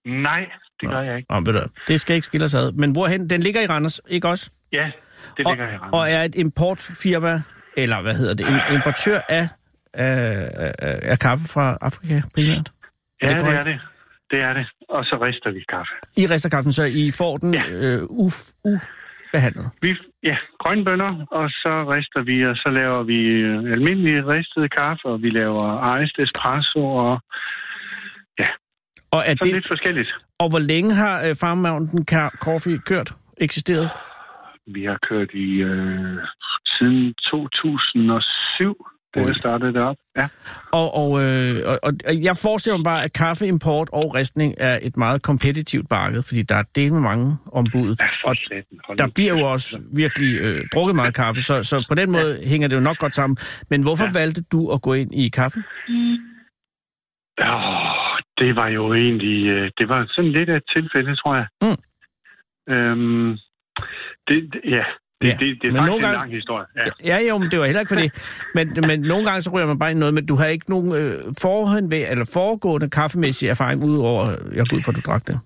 Speaker 11: Nej, det gør jeg ikke.
Speaker 3: Nå, ved du, det skal ikke skille os ad. Men hvorhen? Den ligger i Randers, ikke også?
Speaker 11: Ja, det ligger i Randers.
Speaker 3: Og er et importfirma, eller hvad hedder det, en importør af, af, af, af kaffe fra Afrika primært?
Speaker 11: ja, det,
Speaker 3: korrekt?
Speaker 11: er det. Det er det. Og så rister vi kaffe.
Speaker 3: I rister kaffen, så I får den ja.
Speaker 11: Ja.
Speaker 3: øh, uf, ubehandlet.
Speaker 11: Vi, ja, grønne bønner, og så rister vi, og så laver vi øh, almindelig ristet kaffe, og vi laver iced espresso, og
Speaker 3: Og, er
Speaker 11: sådan det...
Speaker 3: det,
Speaker 11: lidt forskelligt.
Speaker 3: og hvor længe har øh, Farm Mountain Ca- Coffee kørt, eksisteret?
Speaker 11: Vi har kørt i øh, siden 2007, da jeg startede det op. Ja.
Speaker 3: Og, og, øh, og, og og jeg forestiller mig bare, at kaffeimport og ristning er et meget kompetitivt marked, fordi der er det med mange ombudet.
Speaker 11: Ja, for
Speaker 3: Og
Speaker 11: satan. Hold
Speaker 3: der
Speaker 11: nu
Speaker 3: bliver
Speaker 11: kæft.
Speaker 3: jo også virkelig øh, drukket meget kaffe, så, så på den måde hænger det jo nok godt sammen. Men hvorfor ja.
Speaker 11: Ja.
Speaker 3: valgte du at gå ind i kaffe?
Speaker 11: Oh, det var jo egentlig... øh, Det var sådan lidt af et tilfælde, tror jeg.
Speaker 3: Mm.
Speaker 11: Øhm, det, det- ja,
Speaker 3: Ja,
Speaker 11: det, ja. det, det er
Speaker 3: men
Speaker 11: men faktisk
Speaker 3: nogle
Speaker 11: en
Speaker 3: gange-
Speaker 11: lang historie. Ja.
Speaker 3: Ja, jo, men det var heller ikke for det. Men, men nogle gange så ryger man bare i noget, men du har ikke nogen øh, forhånd ved, eller foregående kaffemæssig erfaring, udover, jeg går ud fra, at du drak det.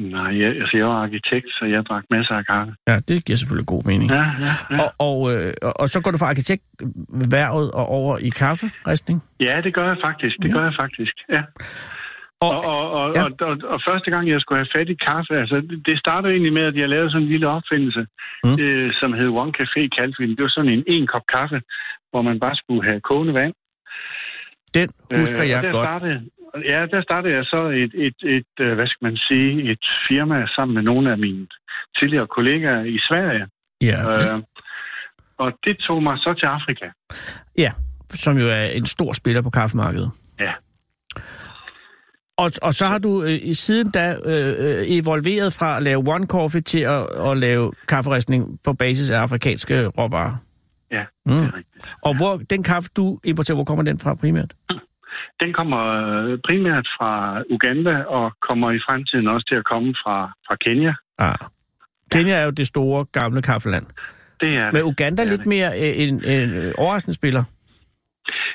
Speaker 11: Nej, jeg, altså, jeg var arkitekt, så jeg drak masser af kaffe.
Speaker 3: Ja, det giver selvfølgelig god mening.
Speaker 11: Ja, ja, ja.
Speaker 3: Mm. Og, og, øh, og, og så går du fra arkitektværvet og over i kafferistning?
Speaker 11: ja, det gør jeg faktisk. Det gør jeg faktisk, ja. Og,
Speaker 3: Mm. Og,
Speaker 11: og, og,
Speaker 3: Ja.
Speaker 11: ja. Og, og, og første gang, jeg skulle have fat i kaffe, altså, det- det startede egentlig med, at jeg lavede sådan en lille opfindelse,
Speaker 3: Mm.
Speaker 11: mm. øh, som hed One Café kaldte vi den. Det var sådan en en kop kaffe, hvor man bare skulle have kogende vand.
Speaker 3: den husker
Speaker 11: Øh, og
Speaker 3: jeg
Speaker 11: der
Speaker 3: godt.
Speaker 11: Startede, ja, der startede jeg så et, et, et, øh, hvad skal man sige, et firma sammen med nogle af mine tidligere kollegaer i Sverige.
Speaker 3: Ja,
Speaker 11: Øh, og det tog mig så til Afrika.
Speaker 3: ja, som jo er en stor spiller på kaffemarkedet.
Speaker 11: Ja.
Speaker 3: Og, og så har du øh, siden da øh, øh, evolveret fra at lave one coffee til at, at lave kafferistning på basis af afrikanske råvarer.
Speaker 11: Ja,
Speaker 3: Mm.
Speaker 11: det er rigtigt.
Speaker 3: Og hvor den kaffe, du importerer, hvor kommer den fra primært?
Speaker 11: Den kommer øh, primært fra Uganda og kommer i fremtiden også til at komme fra, fra Kenya.
Speaker 3: Ah. Kenya er jo det store, gamle kaffeland.
Speaker 11: Det er
Speaker 3: Men Uganda er
Speaker 11: Det er
Speaker 3: lidt mere øh, en, en, en overraskende spiller.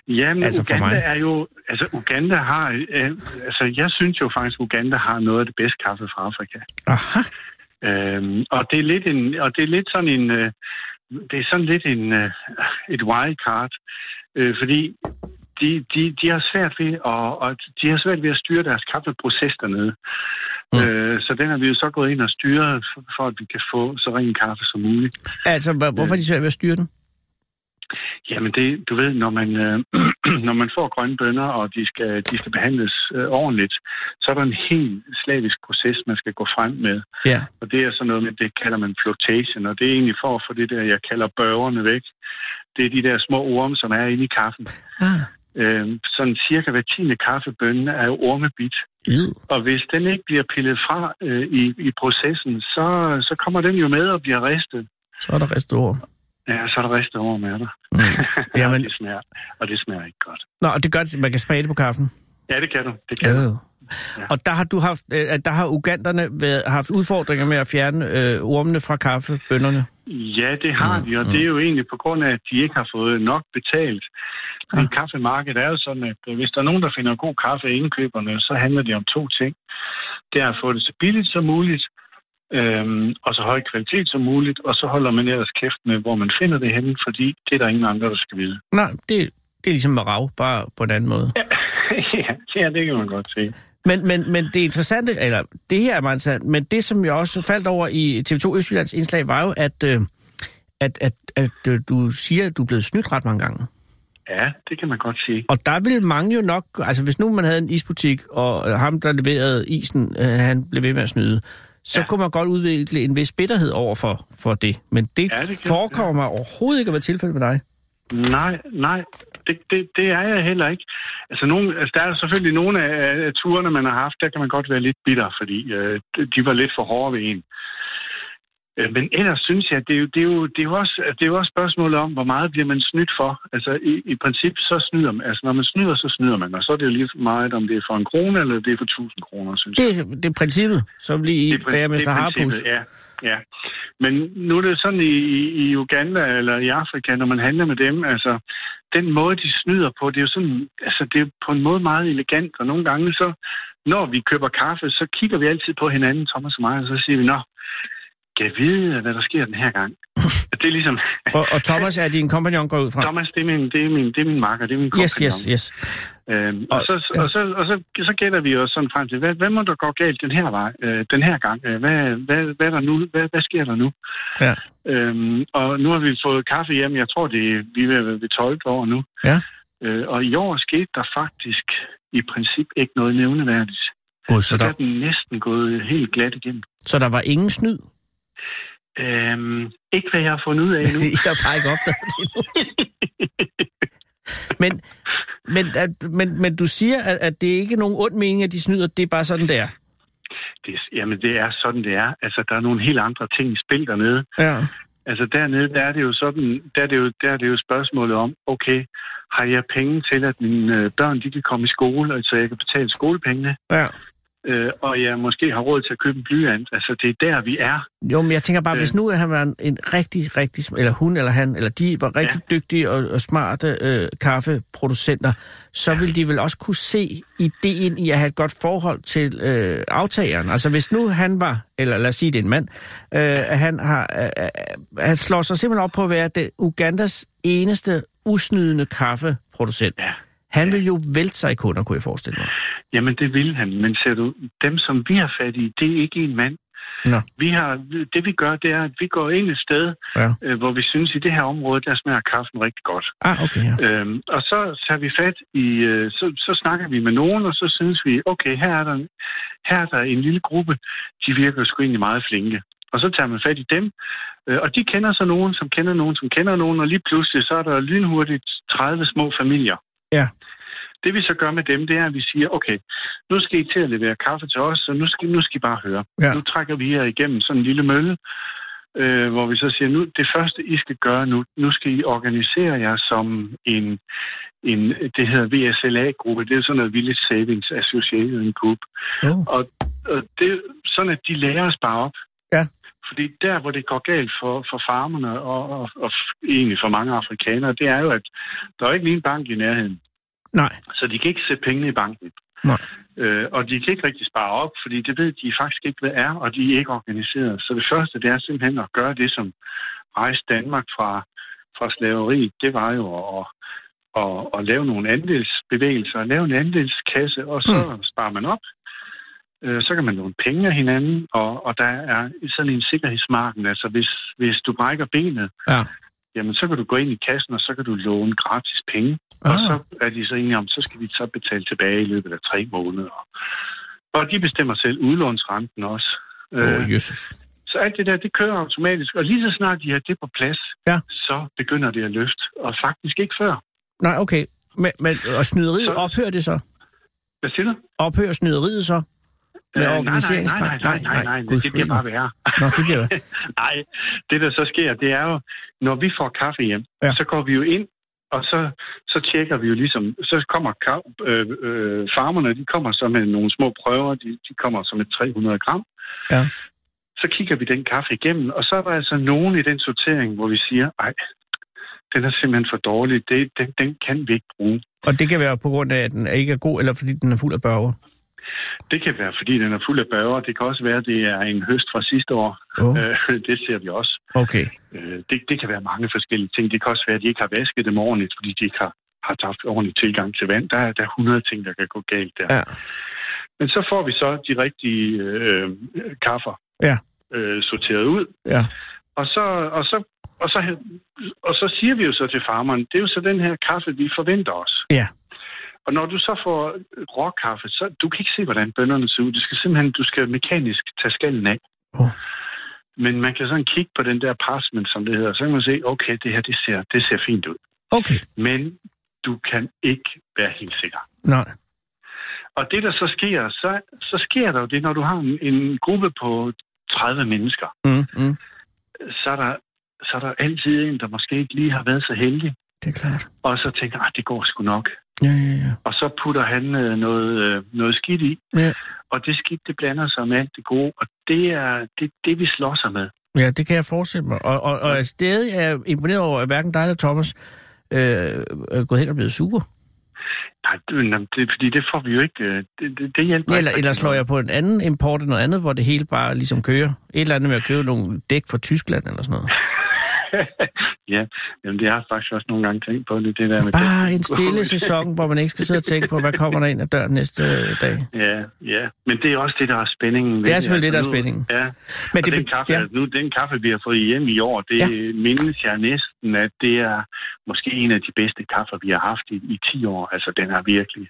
Speaker 11: Jamen,
Speaker 3: Altså
Speaker 11: altså
Speaker 3: for
Speaker 11: Uganda
Speaker 3: mig.
Speaker 11: er jo... Altså, Uganda har... Øh, altså, jeg synes jo faktisk, Uganda har noget af det bedste kaffe fra Afrika.
Speaker 3: Aha.
Speaker 11: Øhm, og det er lidt en, og det er lidt sådan en, øh, det er sådan lidt en øh, et wildcard, øh, fordi de, de, de har svært ved at, og de har svært ved at styre deres kaffeproces dernede.
Speaker 3: Mm.
Speaker 11: Mm. Øh, så den har vi jo så gået ind og styret, for, for at vi kan få så ren kaffe som muligt.
Speaker 3: Altså, hvor, hvorfor er de svært ved at styre den?
Speaker 11: Jamen det, du ved, når man, øh, når man får grønne bønner, og de skal, de skal behandles øh, ordentligt, så er der en helt slavisk proces, man skal gå frem med.
Speaker 3: Ja.
Speaker 11: Og det er sådan noget med, det kalder man flotation, og det er egentlig for at få det der, jeg kalder børgerne væk. Det er de der små orme, som er inde i kaffen.
Speaker 3: Ah.
Speaker 11: Øhm, sådan cirka hver tiende kaffebønne er jo ormebit.
Speaker 3: Ed.
Speaker 11: Og hvis den ikke bliver pillet fra øh, i, i processen, så, så kommer den jo med og bliver ristet.
Speaker 3: Så er der ristet ord.
Speaker 11: Ja, så er der ristet over med dig.
Speaker 3: Mm. Jamen,
Speaker 11: Og det smager, og det smager ikke godt.
Speaker 3: nå, og det gør, at man kan smage det på kaffen. Øh.
Speaker 11: Ja, det kan du. Det kan du.
Speaker 3: Og der har du haft, øh, der har uganderne været, haft udfordringer med at fjerne øh, ormene fra kaffebønderne.
Speaker 11: Ja, det har de, og det er jo egentlig på grund af, at de ikke har fået nok betalt. Fordi kaffemarkedet er jo sådan, at øh, hvis der er nogen, der finder god kaffe i indkøberne, så handler det om to ting. Det er at få det så billigt som muligt, øhm, og så høj kvalitet som muligt, og så holder man ellers kæft med, hvor man finder det henne, fordi det er der ingen andre, der skal vide.
Speaker 3: Nej, det, det er ligesom med rav, bare på en anden måde. Ja.
Speaker 11: ja, ja, det kan man godt se.
Speaker 3: Men, men, men det interessante, eller det her er meget interessant, men det som jeg også faldt over i TV2 Østjyllands indslag, var jo, at, øh, at, at, at, at du siger, at du er blevet snydt ret mange gange.
Speaker 11: Ja, det kan man godt sige.
Speaker 3: Og der ville mange jo nok... Altså, hvis nu man havde en isbutik, og ham, der leverede isen, øh, han blev ved med at snyde, så ja. kunne man godt udvikle en vis bitterhed over for, for det. Men det, ja, det kan, forekommer ja. mig overhovedet ikke at være tilfældet med dig.
Speaker 11: Nej, nej, det, det, det er jeg heller ikke. Altså, nogen, altså, der er selvfølgelig nogle af, af turene, man har haft, der kan man godt være lidt bitter, fordi øh, de var lidt for hårde ved en. Øh, men ellers synes jeg, det er, jo, det, er jo, det, er jo også, det er jo også spørgsmålet om, hvor meget bliver man snydt for. Altså, i, i princippet, så snyder man. Altså, når man snyder, så snyder man. Og så er det jo lige meget, om det er for en krone, eller det er for tusind kroner, synes jeg.
Speaker 3: Det, det er princippet, som lige i bagermester Harpus.
Speaker 11: Ja, ja. Men nu er det sådan i, i Uganda eller i Afrika, når man handler med dem, altså den måde, de snyder på, det er jo sådan, altså det er på en måde meget elegant, og nogle gange så, når vi køber kaffe, så kigger vi altid på hinanden, Thomas og mig, og så siger vi, nå, kan vide, hvad der sker den her gang. det er ligesom...
Speaker 3: og, og Thomas er din kompagnon går ud fra?
Speaker 11: Thomas, det er min, det er min, det er min marker, det er min
Speaker 3: kompagnon. Yes, yes, yes.
Speaker 11: Øhm, og, og, så, ja. og, så, og så, så gætter vi os sådan frem til, hvad, hvad må der gå galt den her, vej, øh, den her gang? Hvad, hvad, hvad, der nu, hvad, hvad sker der nu?
Speaker 3: Ja.
Speaker 11: Øhm, og nu har vi fået kaffe hjem, jeg tror, det er, vi er ved 12 år nu.
Speaker 3: Ja.
Speaker 11: Øh, og i år skete der faktisk i princip ikke noget nævneværdigt.
Speaker 3: God, så, så
Speaker 11: der... er den næsten gået helt glat igennem.
Speaker 3: Så der var ingen snyd?
Speaker 11: Øhm, ikke hvad jeg har fundet ud af endnu.
Speaker 3: jeg har bare ikke opdaget det endnu. men, men, at, men, men du siger, at, at det ikke er nogen ond mening, at de snyder, det er bare sådan, det er.
Speaker 11: Det, jamen, det er sådan, det er. Altså, der er nogle helt andre ting i spil dernede.
Speaker 3: Ja.
Speaker 11: Altså, dernede, der er det jo sådan, der er det jo, der er det jo spørgsmålet om, okay, har jeg penge til, at mine øh, børn, de kan komme i skole, så jeg kan betale skolepengene?
Speaker 3: Ja
Speaker 11: øh, og jeg måske har råd til at købe en blyant. Altså, det er der, vi er.
Speaker 3: Jo, men jeg tænker bare, øh, hvis nu han var en, en rigtig, rigtig, eller hun eller han, eller de var rigtig ja. dygtige og, og smarte øh, kaffeproducenter, så ja. ville de vel også kunne se ideen i at have et godt forhold til øh, aftageren. Altså, hvis nu han var, eller lad os sige, det er en mand, øh, at han, har, øh, han slår sig simpelthen op på at være det Ugandas eneste usnydende kaffeproducent.
Speaker 11: Ja.
Speaker 3: Han ja. vil jo vælte sig i kunder, kunne jeg forestille mig.
Speaker 11: Jamen, det vil han. Men ser du, dem, som vi har fat i, det er ikke en mand.
Speaker 3: Nå.
Speaker 11: Vi har, det vi gør, det er, at vi går ind et sted, ja. øh, hvor vi synes, i det her område, der smager kaffen rigtig godt.
Speaker 3: Ah, okay. Ja.
Speaker 11: Øhm, og så tager vi fat i, øh, så, så snakker vi med nogen, og så synes vi, okay, her er der, en, her er der en lille gruppe, de virker sgu egentlig meget flinke. Og så tager man fat i dem, øh, og de kender så nogen, som kender nogen, som kender nogen, og lige pludselig, så er der lynhurtigt 30 små familier.
Speaker 3: Ja.
Speaker 11: Det vi så gør med dem, det er, at vi siger, okay, nu skal I til at levere kaffe til os, så nu skal, nu skal I bare høre.
Speaker 3: Ja.
Speaker 11: Nu trækker vi jer igennem sådan en lille mølle, øh, hvor vi så siger, nu det første, I skal gøre nu, nu skal I organisere jer som en, en det hedder VSLA-gruppe, det er sådan noget Village Savings Association Group.
Speaker 3: Oh.
Speaker 11: Og, og det er sådan, at de lærer os bare op.
Speaker 3: Ja.
Speaker 11: Fordi der, hvor det går galt for, for farmerne og, og, og egentlig for mange afrikanere, det er jo, at der er ikke lige en bank i nærheden.
Speaker 3: Nej.
Speaker 11: Så de kan ikke sætte pengene i banken.
Speaker 3: Nej.
Speaker 11: Øh, og de kan ikke rigtig spare op, fordi det ved de faktisk ikke, hvad er, og de er ikke organiseret. Så det første, det er simpelthen at gøre det, som rejste Danmark fra, fra slaveri. Det var jo at, at, at lave nogle andelsbevægelser, at lave en andelskasse, og så mm. sparer man op. Øh, så kan man låne penge af hinanden, og, og der er sådan en sikkerhedsmarken. Altså, hvis, hvis du brækker benet,
Speaker 3: ja
Speaker 11: jamen så kan du gå ind i kassen, og så kan du låne gratis penge. Ah. Og så er de så enige om, så skal vi så betale tilbage i løbet af tre måneder. Og de bestemmer selv udlånsrenten også. Øh,
Speaker 3: Oh, Jesus.
Speaker 11: Så alt det der, det kører automatisk. Og lige så snart de har det på plads,
Speaker 3: ja.
Speaker 11: så begynder det at løfte. Og faktisk ikke før.
Speaker 3: Nej, okay. Men, men og snyderiet, så... ophører det så?
Speaker 11: Hvad siger du?
Speaker 3: Ophører snyderiet så?
Speaker 11: med øh, organiseringskraft? Nej, nej, nej, nej, nej, nej, nej. det bliver bare værre.
Speaker 3: Nå, det bliver det.
Speaker 11: nej, det der så sker, det er jo, når vi får kaffe hjem, ja. så går vi jo ind, og så, så tjekker vi jo ligesom, så kommer øh, øh, farmerne, de kommer så med nogle små prøver, de, de kommer så med 300 gram.
Speaker 3: Ja.
Speaker 11: Så kigger vi den kaffe igennem, og så er der altså nogen i den sortering, hvor vi siger, ej, den er simpelthen for dårlig, det, den, den kan vi ikke bruge.
Speaker 3: Og det kan være på grund af, at den ikke er god, eller fordi den er fuld af børger?
Speaker 11: Det kan være, fordi den er fuld af børger. Det kan også være, at det er en høst fra sidste år.
Speaker 3: Oh.
Speaker 11: Øh, det ser vi også.
Speaker 3: Okay.
Speaker 11: Øh, det, det kan være mange forskellige ting. Det kan også være, at de ikke har vasket dem ordentligt, fordi de ikke har, har haft ordentlig tilgang til vand. Der er, der er 100 ting, der kan gå galt der.
Speaker 3: Ja.
Speaker 11: Men så får vi så de rigtige øh, kaffer
Speaker 3: ja.
Speaker 11: øh, sorteret ud.
Speaker 3: Ja.
Speaker 11: Og så, og så, og så, og så siger vi jo så til farmeren, det er jo så den her kaffe, vi forventer os.
Speaker 3: Ja.
Speaker 11: Og når du så får råkaffe, så du kan ikke se, hvordan bønderne ser ud. Du skal simpelthen, du skal mekanisk tage skallen af.
Speaker 3: Oh.
Speaker 11: Men man kan sådan kigge på den der parchment, som det hedder, så kan man se, okay, det her, det ser, det ser fint ud.
Speaker 3: Okay.
Speaker 11: Men du kan ikke være helt sikker.
Speaker 3: Nej.
Speaker 11: Og det, der så sker, så, så sker der jo det, når du har en, en gruppe på 30 mennesker,
Speaker 3: mm, mm.
Speaker 11: så er der så er der altid en, der måske ikke lige har været så heldig.
Speaker 3: Det er klart.
Speaker 11: Og så tænker, at det går sgu nok.
Speaker 3: Ja, ja, ja.
Speaker 11: Og så putter han øh, noget, øh, noget skidt i.
Speaker 3: Ja.
Speaker 11: Og det skidt, det blander sig med alt det gode. Og det er det, det vi slår sig med.
Speaker 3: Ja, det kan jeg forestille mig. Og, og, og stadig er jeg imponeret over, at hverken dig eller Thomas øh, er gået hen og blevet super.
Speaker 11: Nej, det, det, fordi det får vi jo ikke. øh, Det, det, det hjælper
Speaker 3: Ja, eller,
Speaker 11: ikke.
Speaker 3: eller slår jeg på en anden import eller noget andet, hvor det hele bare ligesom kører. Et eller andet med at købe nogle dæk fra Tyskland eller sådan noget.
Speaker 11: ja, jamen det har jeg faktisk også nogle gange tænkt på, det, det der med
Speaker 3: Bare en stille sæson, hvor man ikke skal sidde og tænke på, hvad kommer der ind ad døren næste øh, dag.
Speaker 11: Ja, ja. Men det er også det, der er spændingen. ved
Speaker 3: Det er selvfølgelig det, der er
Speaker 11: nu-
Speaker 3: spændingen.
Speaker 11: Ja.
Speaker 3: Men
Speaker 11: Men
Speaker 3: det
Speaker 11: det, den,
Speaker 3: be-
Speaker 11: kaffe,
Speaker 3: ja.
Speaker 11: ja. nu, den kaffe, vi har fået hjem i år, det
Speaker 3: Ja.
Speaker 11: ja. mindes jeg næsten, at det er måske en af de bedste kaffer, vi har haft i, i 10 år. Altså, den er virkelig...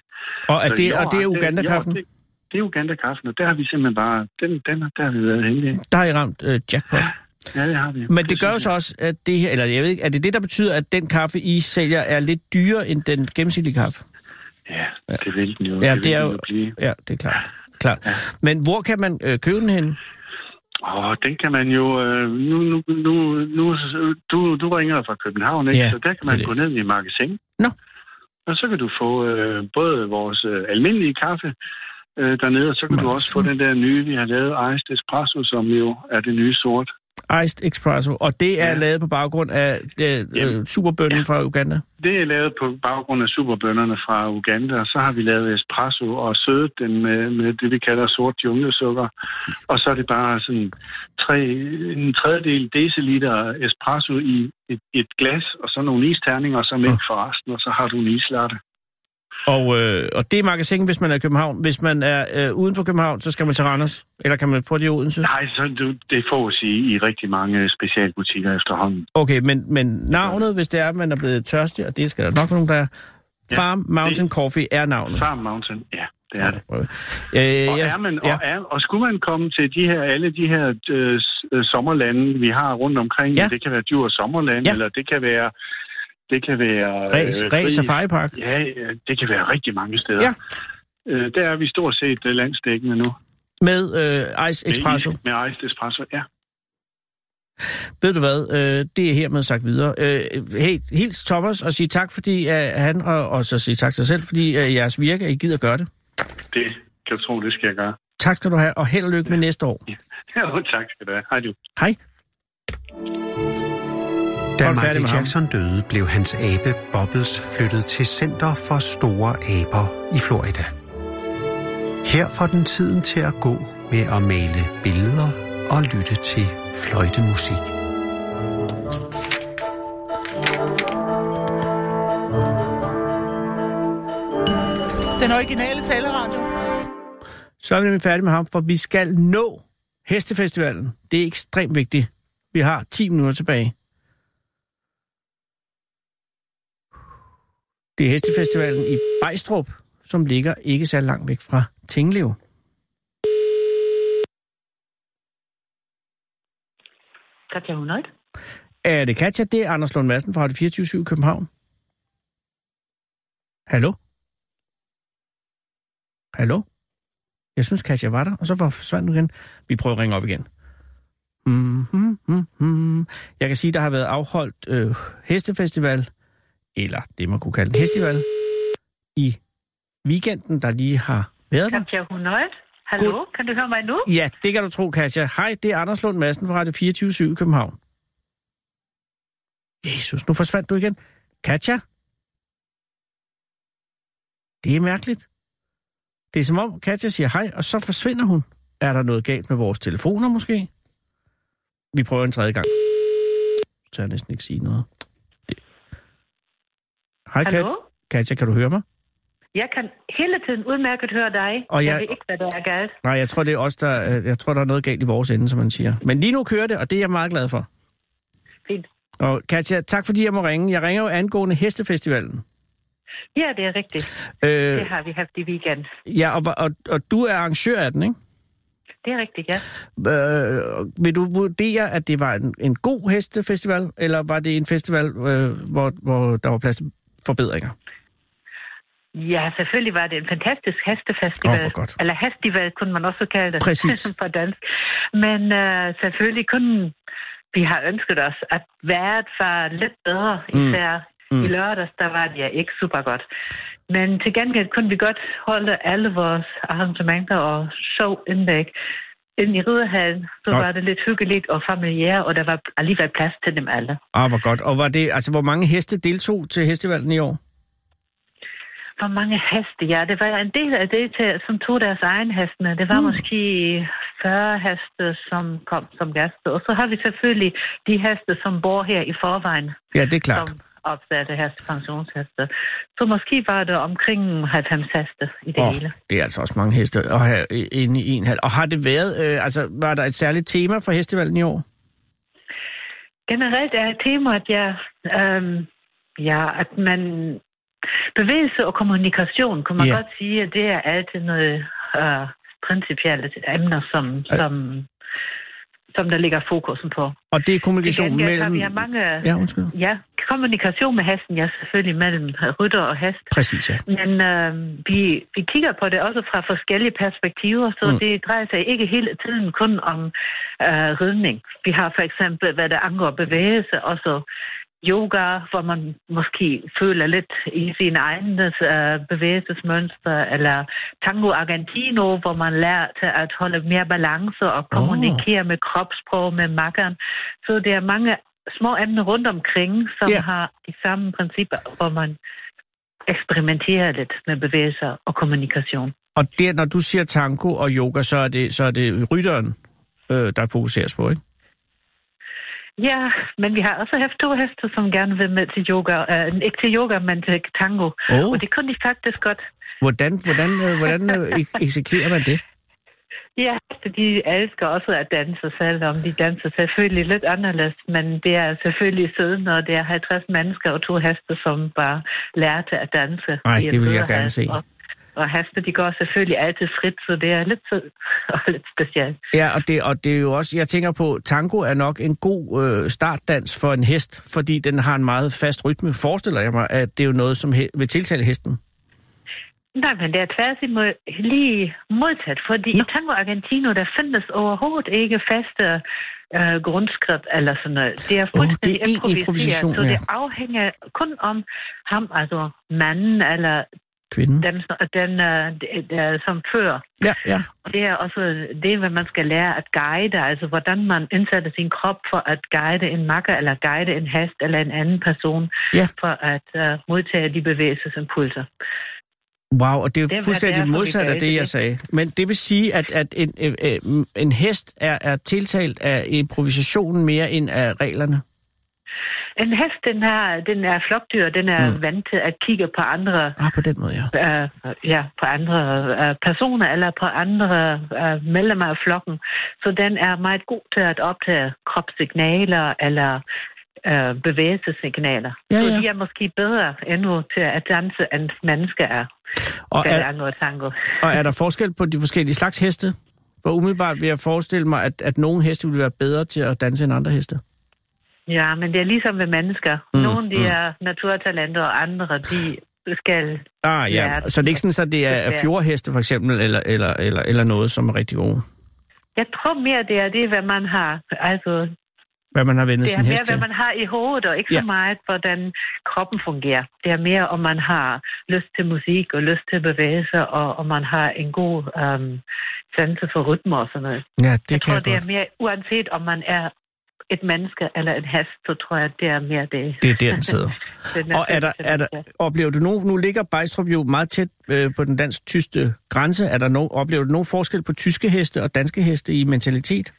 Speaker 3: Og, er
Speaker 11: Så i
Speaker 3: det,
Speaker 11: år
Speaker 3: og det er
Speaker 11: har den-
Speaker 3: Uganda-kaffen,
Speaker 11: i år, Det, det er Uganda-kaffen, og der har vi simpelthen bare... Den, den har, der har vi været heldige.
Speaker 3: der har I ramt øh, jackpot.
Speaker 11: Ja, det har vi.
Speaker 3: Men det gør jo
Speaker 11: synes
Speaker 3: så også, at det her, eller jeg ved ikke, er det det, der betyder, at den kaffe, I sælger, er lidt dyrere end den gennemsnitlige kaffe?
Speaker 11: jeg. Ja, det vil den jo,
Speaker 3: Ja,
Speaker 11: det
Speaker 3: det
Speaker 11: vil
Speaker 3: er
Speaker 11: den
Speaker 3: jo-
Speaker 11: blive.
Speaker 3: Ja, det er klart. klart. Men hvor kan man øh, købe den henne?
Speaker 11: Åh, den kan man jo... Øh, nu, nu, nu, nu, du, du ringer fra København, ikke?
Speaker 3: Ja,
Speaker 11: Ja, så der kan
Speaker 3: det er
Speaker 11: man
Speaker 3: det.
Speaker 11: gå ned i magasin.
Speaker 3: Nå.
Speaker 11: Og så kan du få øh, både vores øh, almindelige kaffe øh, dernede, og så kan du
Speaker 3: Meget
Speaker 11: også få den der nye, vi har lavet, Iced Espresso, som jo er det nye sort.
Speaker 3: Iced Espresso, og det er ja.
Speaker 11: Ja.
Speaker 3: lavet på baggrund af øh, øh,
Speaker 11: Jamen,
Speaker 3: superbønnen ja. fra Uganda.
Speaker 11: Det er lavet på baggrund af superbønderne fra Uganda, og så har vi lavet espresso og sødet den med, med det, vi kalder sort junglesukker. Og så er det bare sådan tre, en tredjedel deciliter espresso i et, et glas, og så nogle isterninger, og så mælk for resten, og så har du en islatte.
Speaker 3: Og, øh, og det er magasin, hvis man er i København. Hvis man er øh, uden for København, så skal man til Randers. Eller kan man få det i Odense?
Speaker 11: Nej, så du, det fås i, i rigtig mange specialbutikker efterhånden.
Speaker 3: Okay, men, men navnet, hvis det er, at man er blevet tørstig, og det skal der nok være nogen, der er.
Speaker 11: Ja,
Speaker 3: Farm Mountain Coffee er navnet.
Speaker 11: Farm Mountain, ja, det er det.
Speaker 3: Øh,
Speaker 11: Og,
Speaker 3: jeg-
Speaker 11: er man,
Speaker 3: ja.
Speaker 11: og, er, og skulle man komme til de her, alle de her øh, s- øh, sommerlande, vi har rundt omkring,
Speaker 3: Ja.
Speaker 11: ja. det kan være Djurs Sommerland,
Speaker 3: Ja.
Speaker 11: ja. eller det kan være... Det kan være...
Speaker 3: Ræs, øh, Ræs
Speaker 11: Ris-
Speaker 3: Safari Park.
Speaker 11: Ja, øh, det kan være rigtig mange steder.
Speaker 3: Ja.
Speaker 11: Øh, der er vi stort set øh, landsdækkende nu.
Speaker 3: Med øh, Ice
Speaker 11: Med
Speaker 3: Espresso.
Speaker 11: is- Med Iced Espresso, ja.
Speaker 3: Ved du hvad? Øh, det er hermed sagt videre. Øh, hey, hils Thomas og sig tak, fordi øh, han, og, og så sig tak til sig selv, fordi øh, jeres virke, at I gider gøre det.
Speaker 11: Det kan du tro, det skal jeg gøre.
Speaker 3: Tak skal du have, og held og lykke med næste år.
Speaker 11: Ja, tak skal du have. Hej du.
Speaker 3: Hej.
Speaker 2: Da
Speaker 3: Hold færdig med
Speaker 2: Michael
Speaker 3: ham.
Speaker 2: Jackson døde, blev hans abe Bobbles flyttet til Center for Store Aber i Florida. Her får den tiden til at gå med at male billeder og lytte til fløjtemusik.
Speaker 12: Den originale taleradio.
Speaker 3: Så er vi nemlig færdige med ham, for vi skal nå Hestefestivalen. Det er ekstremt vigtigt. Vi har 10 minutter tilbage. Det er Hestefestivalen i Bejstrup, som ligger ikke så langt væk fra Tinglev.
Speaker 6: Katja Hunold?
Speaker 3: Er det Katja? Det er Anders Lund Madsen fra Radio 24 i København. Hallo? Hallo? Jeg synes, Katja var der, og så var forsvandt hun igen. Vi prøver at ringe op igen. Mm-hmm, mm-hmm. Jeg kan sige, der har været afholdt øh, hestefestival, eller det, man kunne kalde en festival, i weekenden, der lige har været der.
Speaker 7: Katja Hunold. Hallo,
Speaker 3: God-
Speaker 7: kan du høre mig nu?
Speaker 3: Ja, det kan du tro, Katja. Hej, det er Anders Lund Madsen fra Radio 24 i København. Jesus, nu forsvandt du igen. Katja? Det er mærkeligt. Det er som om Katja siger hej, og så forsvinder hun. Er der noget galt med vores telefoner måske? Vi prøver en tredje gang. Så tør jeg næsten ikke sige noget. Det... Hej, Kat...
Speaker 7: Hallo?
Speaker 3: Katja, kan du høre mig?
Speaker 7: Jeg kan hele tiden udmærket høre dig.
Speaker 3: Og jeg-
Speaker 7: jeg ved ikke, hvad der er galt.
Speaker 3: Nej, jeg tror, det er os, der, øh, jeg tror, der er noget galt i vores ende, som man siger. Men lige nu kører det, og det er jeg meget glad for.
Speaker 7: fint.
Speaker 3: Og Katja, tak fordi jeg må ringe. Jeg ringer jo angående Hestefestivalen.
Speaker 7: Ja, det er rigtigt. Øh, det har vi haft i weekend.
Speaker 3: Ja, og, og, og du er arrangør af den, ikke?
Speaker 7: Det er rigtigt, ja.
Speaker 3: Øh, vil du vurdere, at det var en, en god hestefestival, eller var det en festival, øh, hvor, hvor der var plads til forbedringer?
Speaker 7: Ja, selvfølgelig var det en fantastisk hestefestival.
Speaker 3: Åh, oh,
Speaker 7: Eller hestival, kunne man også kalde det.
Speaker 3: Præcis.
Speaker 7: på dansk. Men øh, selvfølgelig kunne vi har ønsket os, at vejret var lidt bedre, især mm. i lørdags, der var det ja ikke super godt. Men til gengæld kunne vi godt holde alle vores arrangementer og showindlæg ind i Ridehallen. Så
Speaker 3: Nå.
Speaker 7: var det lidt hyggeligt og familiært, og der var alligevel plads til dem alle.
Speaker 3: Ah, hvor godt. Og var det, altså, hvor mange heste deltog til festivalen i år?
Speaker 7: Hvor mange heste, ja. Det var en del af det, til, som tog deres egen hestene. Det var mm. måske 40 heste, som kom som gæster. Og så har vi selvfølgelig de heste, som bor her i forvejen.
Speaker 3: Ja, det er klart.
Speaker 7: Som opsatte heste, pensionsheste. Så måske var det omkring 90 heste i det oh. hele.
Speaker 3: det er altså også mange heste at have i- inde i en hal. Og har det været, øh, altså, var der et særligt tema for festivalen i år?
Speaker 7: Generelt er temaet, ja, øhm, ja at man... Bevægelse og kommunikation, kunne man
Speaker 3: Ja.
Speaker 7: yeah. godt sige, at det er altid noget øh, principielle emner, som,
Speaker 3: Øh.
Speaker 7: som, som der ligger fokusen på.
Speaker 3: Og det er kommunikation
Speaker 7: Til gengæld har
Speaker 3: mellem...
Speaker 7: Vi har mange,
Speaker 3: Ja, undskyld.
Speaker 7: ja, kommunikation med hesten, ja, selvfølgelig mellem rytter og hest.
Speaker 3: Præcis, ja.
Speaker 7: Men øh, vi, vi kigger på det også fra forskellige perspektiver, så
Speaker 3: Mm.
Speaker 7: mm. det drejer sig ikke hele tiden kun om øh, ridning. Vi har for eksempel, hvad der angår bevægelse, også yoga, hvor man måske føler lidt i sin egen øh, bevægelsesmønster, eller tango argentino, hvor man lærer til at holde mere balance og kommunikere oh. med kropssprog, med makkeren. Så der er mange små emner rundt omkring, som
Speaker 3: Ja.
Speaker 7: yeah. har de samme principper, hvor man eksperimentere lidt med bevægelser og kommunikation.
Speaker 3: Og det, når du siger tango og yoga, så er det, så er det rytteren, øh, der fokuseres på, ikke?
Speaker 7: Ja, men vi har også haft to heste, som gerne vil med til yoga. Uh, ikke til yoga, men til tango.
Speaker 3: Åh.
Speaker 7: Og det kunne de faktisk godt.
Speaker 3: Hvordan, hvordan, øh, hvordan øh, ek- eksekverer man det?
Speaker 7: Ja, heste, de elsker også at danse, selvom de danser selvfølgelig lidt anderledes. Men det er selvfølgelig siden, når det er 50 mennesker og to heste, som bare lærer til at danse.
Speaker 3: Ej,
Speaker 7: i en
Speaker 3: det vil jeg gerne se.
Speaker 7: ridehal. Og, og heste, de går selvfølgelig altid frit, så det er lidt sødt og lidt specielt.
Speaker 3: Ja, og det, og det er jo også, jeg tænker på, tango er nok en god øh, startdans for en hest, fordi den har en meget fast rytme, forestiller jeg mig, at det er jo noget, som he, vil tiltale hesten.
Speaker 7: Nej, men det er tværs imod, lige modsat, fordi i Tango Argentino, der findes overhovedet ikke faste øh, grundskridt eller sådan noget. Det er
Speaker 3: det
Speaker 7: fuldstændig
Speaker 3: er en
Speaker 7: improviseret,
Speaker 3: improvisation,
Speaker 7: så det
Speaker 3: ja.
Speaker 7: afhænger kun om ham, altså manden eller
Speaker 3: Kvinden.
Speaker 7: dem, som- den, øh, der, som fører.
Speaker 3: Ja, ja.
Speaker 7: Og Det er også det, hvad man skal lære at guide, altså hvordan man indsætter sin krop for at guide en makker, eller guide en hest, eller en anden person,
Speaker 3: Ja.
Speaker 7: for at øh, modtage de bevægelsesimpulser.
Speaker 3: Wow, og det er
Speaker 7: Det
Speaker 3: jo
Speaker 7: var
Speaker 3: fuldstændig
Speaker 7: derfor, vi
Speaker 3: modsat af
Speaker 7: valgte
Speaker 3: det, jeg
Speaker 7: det.
Speaker 3: sagde. Men det vil sige, at, at en, øh, øh, en hest er, er tiltalt af improvisationen mere end af reglerne.
Speaker 7: En hest, den, har, den er flokdyr, den er
Speaker 3: Mm.
Speaker 7: mm. vant til at kigge på andre,
Speaker 3: Ah, på den måde, ja.
Speaker 7: øh, ja, på andre øh, personer eller på andre øh, medlemmer af flokken. Så den er meget god til at optage kropssignaler eller øh, bevægelsessignaler.
Speaker 3: Ja,
Speaker 7: Så
Speaker 3: ja.
Speaker 7: de er måske bedre endnu til at danse, end mennesker er.
Speaker 3: Og
Speaker 7: hvad
Speaker 3: er-
Speaker 7: det angår tango.
Speaker 3: Og er der forskel på de forskellige slags heste? For umiddelbart vil jeg forestille mig, at, at nogle heste vil være bedre til at danse end andre heste.
Speaker 7: Ja, men det er ligesom ved mennesker.
Speaker 3: Mm,
Speaker 7: Mm, Nogle de
Speaker 3: mm.
Speaker 7: er naturtalenter, og andre de skal...
Speaker 3: Ah, ja.
Speaker 7: Ja,
Speaker 3: Så det er ikke sådan, at det er
Speaker 7: desværre.
Speaker 3: fjordheste for eksempel, eller, eller, eller, eller noget, som er rigtig gode.
Speaker 7: Jeg tror mere, det er det, hvad man har. Altså,
Speaker 3: Hvad man har vendet
Speaker 7: Det
Speaker 3: sin
Speaker 7: er mere,
Speaker 3: hest
Speaker 7: hvad
Speaker 3: til.
Speaker 7: man har i hovedet, og ikke
Speaker 3: Ja.
Speaker 7: ja. så meget, hvordan kroppen fungerer. Det er mere, om man har lyst til musik og lyst til bevægelse, og om man har en god øhm, sanse for rytmer og sådan noget.
Speaker 3: Ja, det
Speaker 7: jeg
Speaker 3: kan
Speaker 7: tror,
Speaker 3: jeg
Speaker 7: det
Speaker 3: godt.
Speaker 7: er mere, uanset om man er et menneske eller en hest, så tror jeg, det er mere det.
Speaker 3: Det er der, den sidder.
Speaker 7: Den
Speaker 3: Og er der, er der, oplever du nogen, nu ligger Bejstrup jo meget tæt øh, på den dansk-tyske grænse, er der no, oplever du nogen forskel på tyske heste og danske heste i mentalitet?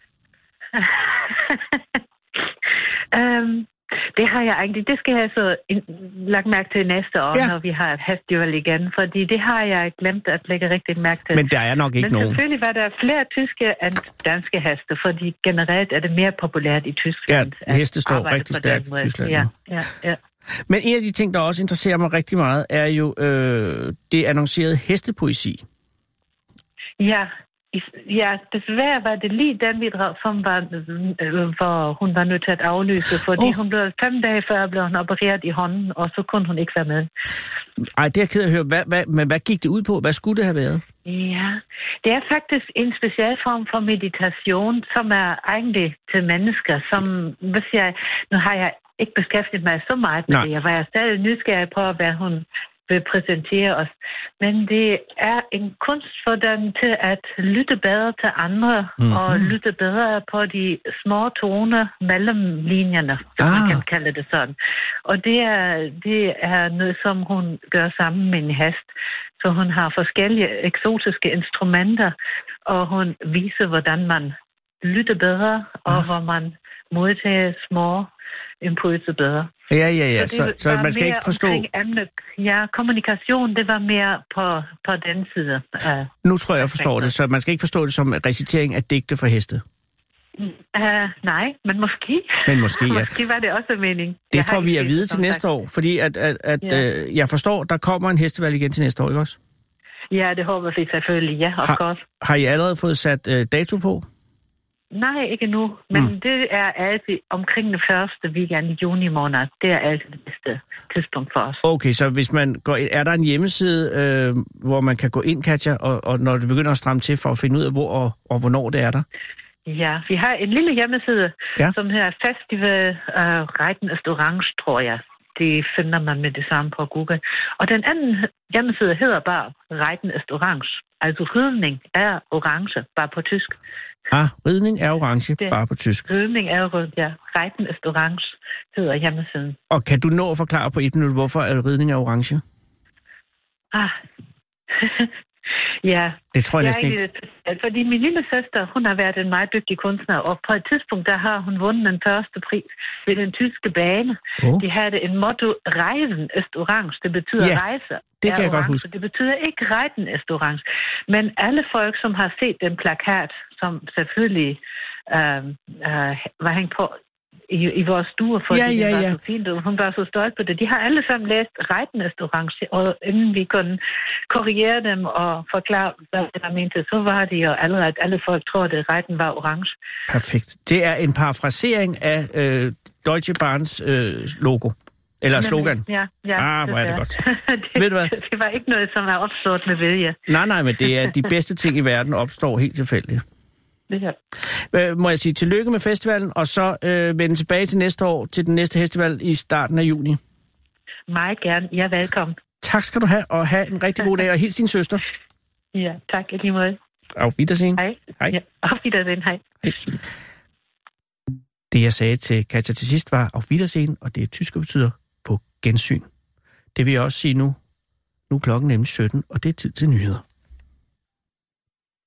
Speaker 7: øhm, Det har jeg egentlig, det skal jeg så ind- lagt mærke til næste år, ja. når vi har et festival igen, fordi det har jeg glemt at lægge rigtig mærke til.
Speaker 3: Men der er nok ikke
Speaker 7: Øh, Men
Speaker 3: nogen.
Speaker 7: selvfølgelig var der flere tyske end danske heste, fordi generelt er det mere populært i Tyskland.
Speaker 3: Ja,
Speaker 7: at
Speaker 3: heste står
Speaker 7: arbejde
Speaker 3: rigtig
Speaker 7: på den
Speaker 3: stærkt i
Speaker 7: måde.
Speaker 3: Tyskland
Speaker 7: Ja,
Speaker 3: nu.
Speaker 7: ja, ja.
Speaker 3: Men en af de ting, der også interesserer mig rigtig meget, er jo øh, det annoncerede hestepoesi.
Speaker 7: Ja, i- ja, desværre var det lige den bidrag, som var, øh, hvor hun var nødt til at aflyse, fordi oh. hun blev fem dage før blev hun opereret i hånden, og så kunne hun ikke være med.
Speaker 3: Ej, det er jeg ked af at høre. Hvad, hvad, men hvad gik det ud på? Hvad skulle det have været?
Speaker 7: Ja, det er faktisk en speciel form for meditation, som er egentlig til mennesker, som, hvis jeg, nu har jeg ikke beskæftiget mig så meget med
Speaker 13: Nej.
Speaker 7: det, jeg var stadig nysgerrig på, hvad hun vil præsentere os. Men det er en kunst for dem til at lytte bedre til andre, mm-hmm. og lytte bedre på de små toner mellem linjerne, hvis ah. man kan kalde det sådan. Og det er, det er noget, som hun gør sammen med en hest. Så hun har forskellige eksotiske instrumenter, og hun viser, hvordan man lytter bedre, og ah. hvor man modtager små impulser bedre.
Speaker 3: Ja, ja, ja.
Speaker 7: det
Speaker 3: Så, så,
Speaker 7: var
Speaker 3: man skal
Speaker 7: mere
Speaker 3: ikke forstå...
Speaker 7: omkring Emne, ja, kommunikation, det var mere på, på den side. Øh, af-
Speaker 3: Nu tror jeg, jeg forstår det. Så man skal ikke forstå det som recitering af digte for heste.
Speaker 7: Uh, nej, men måske.
Speaker 3: Men måske, ja.
Speaker 7: måske var det også meningen.
Speaker 3: Det får vi at vide til næste år, fordi at, at, at
Speaker 7: Ja.
Speaker 3: ja. øh, jeg forstår, der kommer en hestevalg igen til næste år, ikke også?
Speaker 7: Ja, det håber vi selvfølgelig, ja, of course.
Speaker 3: Har I allerede fået sat øh, dato på?
Speaker 7: Nej, ikke nu. Men mm. det er altid omkring den første weekend i juni måned. Det er altid det bedste tidspunkt for os.
Speaker 3: Okay, så hvis man går, er der en hjemmeside, øh, hvor man kan gå ind, Katja, og, og når det begynder at stramme til for at finde ud af, hvor og, og hvornår det er der?
Speaker 7: Ja, vi har en lille hjemmeside,
Speaker 3: Ja.
Speaker 7: som hedder Festival uh, Reiten ist Orange, tror jeg. Det finder man med det samme på Google. Og den anden hjemmeside hedder bare Reiten ist Orange. Altså ridning er orange, bare på tysk.
Speaker 3: Ah, ridning er orange,
Speaker 7: Det-
Speaker 3: bare på tysk.
Speaker 7: Ridning er rød, ja. Reiten ist Orange hedder hjemmesiden.
Speaker 3: Og kan du nå at forklare på et minut, hvorfor er ridning er orange?
Speaker 7: Ah. ja.
Speaker 3: Det tror jeg næsten
Speaker 7: egentlig lidt specielt, Fordi min lille søster, hun har været en meget dygtig kunstner, og på et tidspunkt, der har hun vundet den første pris ved den tyske bane.
Speaker 3: Oh.
Speaker 7: De havde en motto, rejsen est orange. Det betyder
Speaker 13: Ja,
Speaker 7: rejse.
Speaker 13: det
Speaker 7: er
Speaker 13: kan jeg godt
Speaker 7: orange.
Speaker 13: huske.
Speaker 7: Det betyder ikke rejten est orange. Men alle folk, som har set den plakat, som selvfølgelig øh, øh, var hængt på i, i vores stuer, fordi
Speaker 13: Ja, ja,
Speaker 7: den var
Speaker 13: ja.
Speaker 7: så fint, og hun var så stolt på det. De har alle sammen læst Reiten est orange, og inden vi kunne korrigere dem og forklare, hvad der mente, så var de jo allerede, alle folk tror, at Reiten var orange.
Speaker 3: Perfekt. Det er en parafrasering af øh, Deutsche Bahns øh, logo. Eller
Speaker 7: Nemlig,
Speaker 3: slogan.
Speaker 7: Ja, ja.
Speaker 3: Ah, hvor er det
Speaker 7: desværre.
Speaker 3: godt.
Speaker 7: det,
Speaker 3: Ved du hvad?
Speaker 7: det var ikke noget, som er opstået med vilje.
Speaker 3: Nej, nej, men det er de bedste ting i verden opstår helt tilfældigt.
Speaker 7: Det her.
Speaker 3: Øh, må jeg sige tillykke med festivalen, og så øh, vende tilbage til næste år, til den næste festival i starten af juni.
Speaker 7: Meget gerne. Ja, velkommen.
Speaker 3: Tak skal du have, og have en rigtig god dag, og hils din søster.
Speaker 7: Ja, tak i lige måde.
Speaker 3: Auf Wiedersehen.
Speaker 7: Hej.
Speaker 3: Hej.
Speaker 7: Ja, auf Wiedersehen. Hej.
Speaker 3: Det, jeg sagde til Katja til sidst, var Auf Wiedersehen, og det er tysk, og betyder på gensyn. Det vil jeg også sige nu. Nu er klokken nemlig 17, og det er tid til nyheder.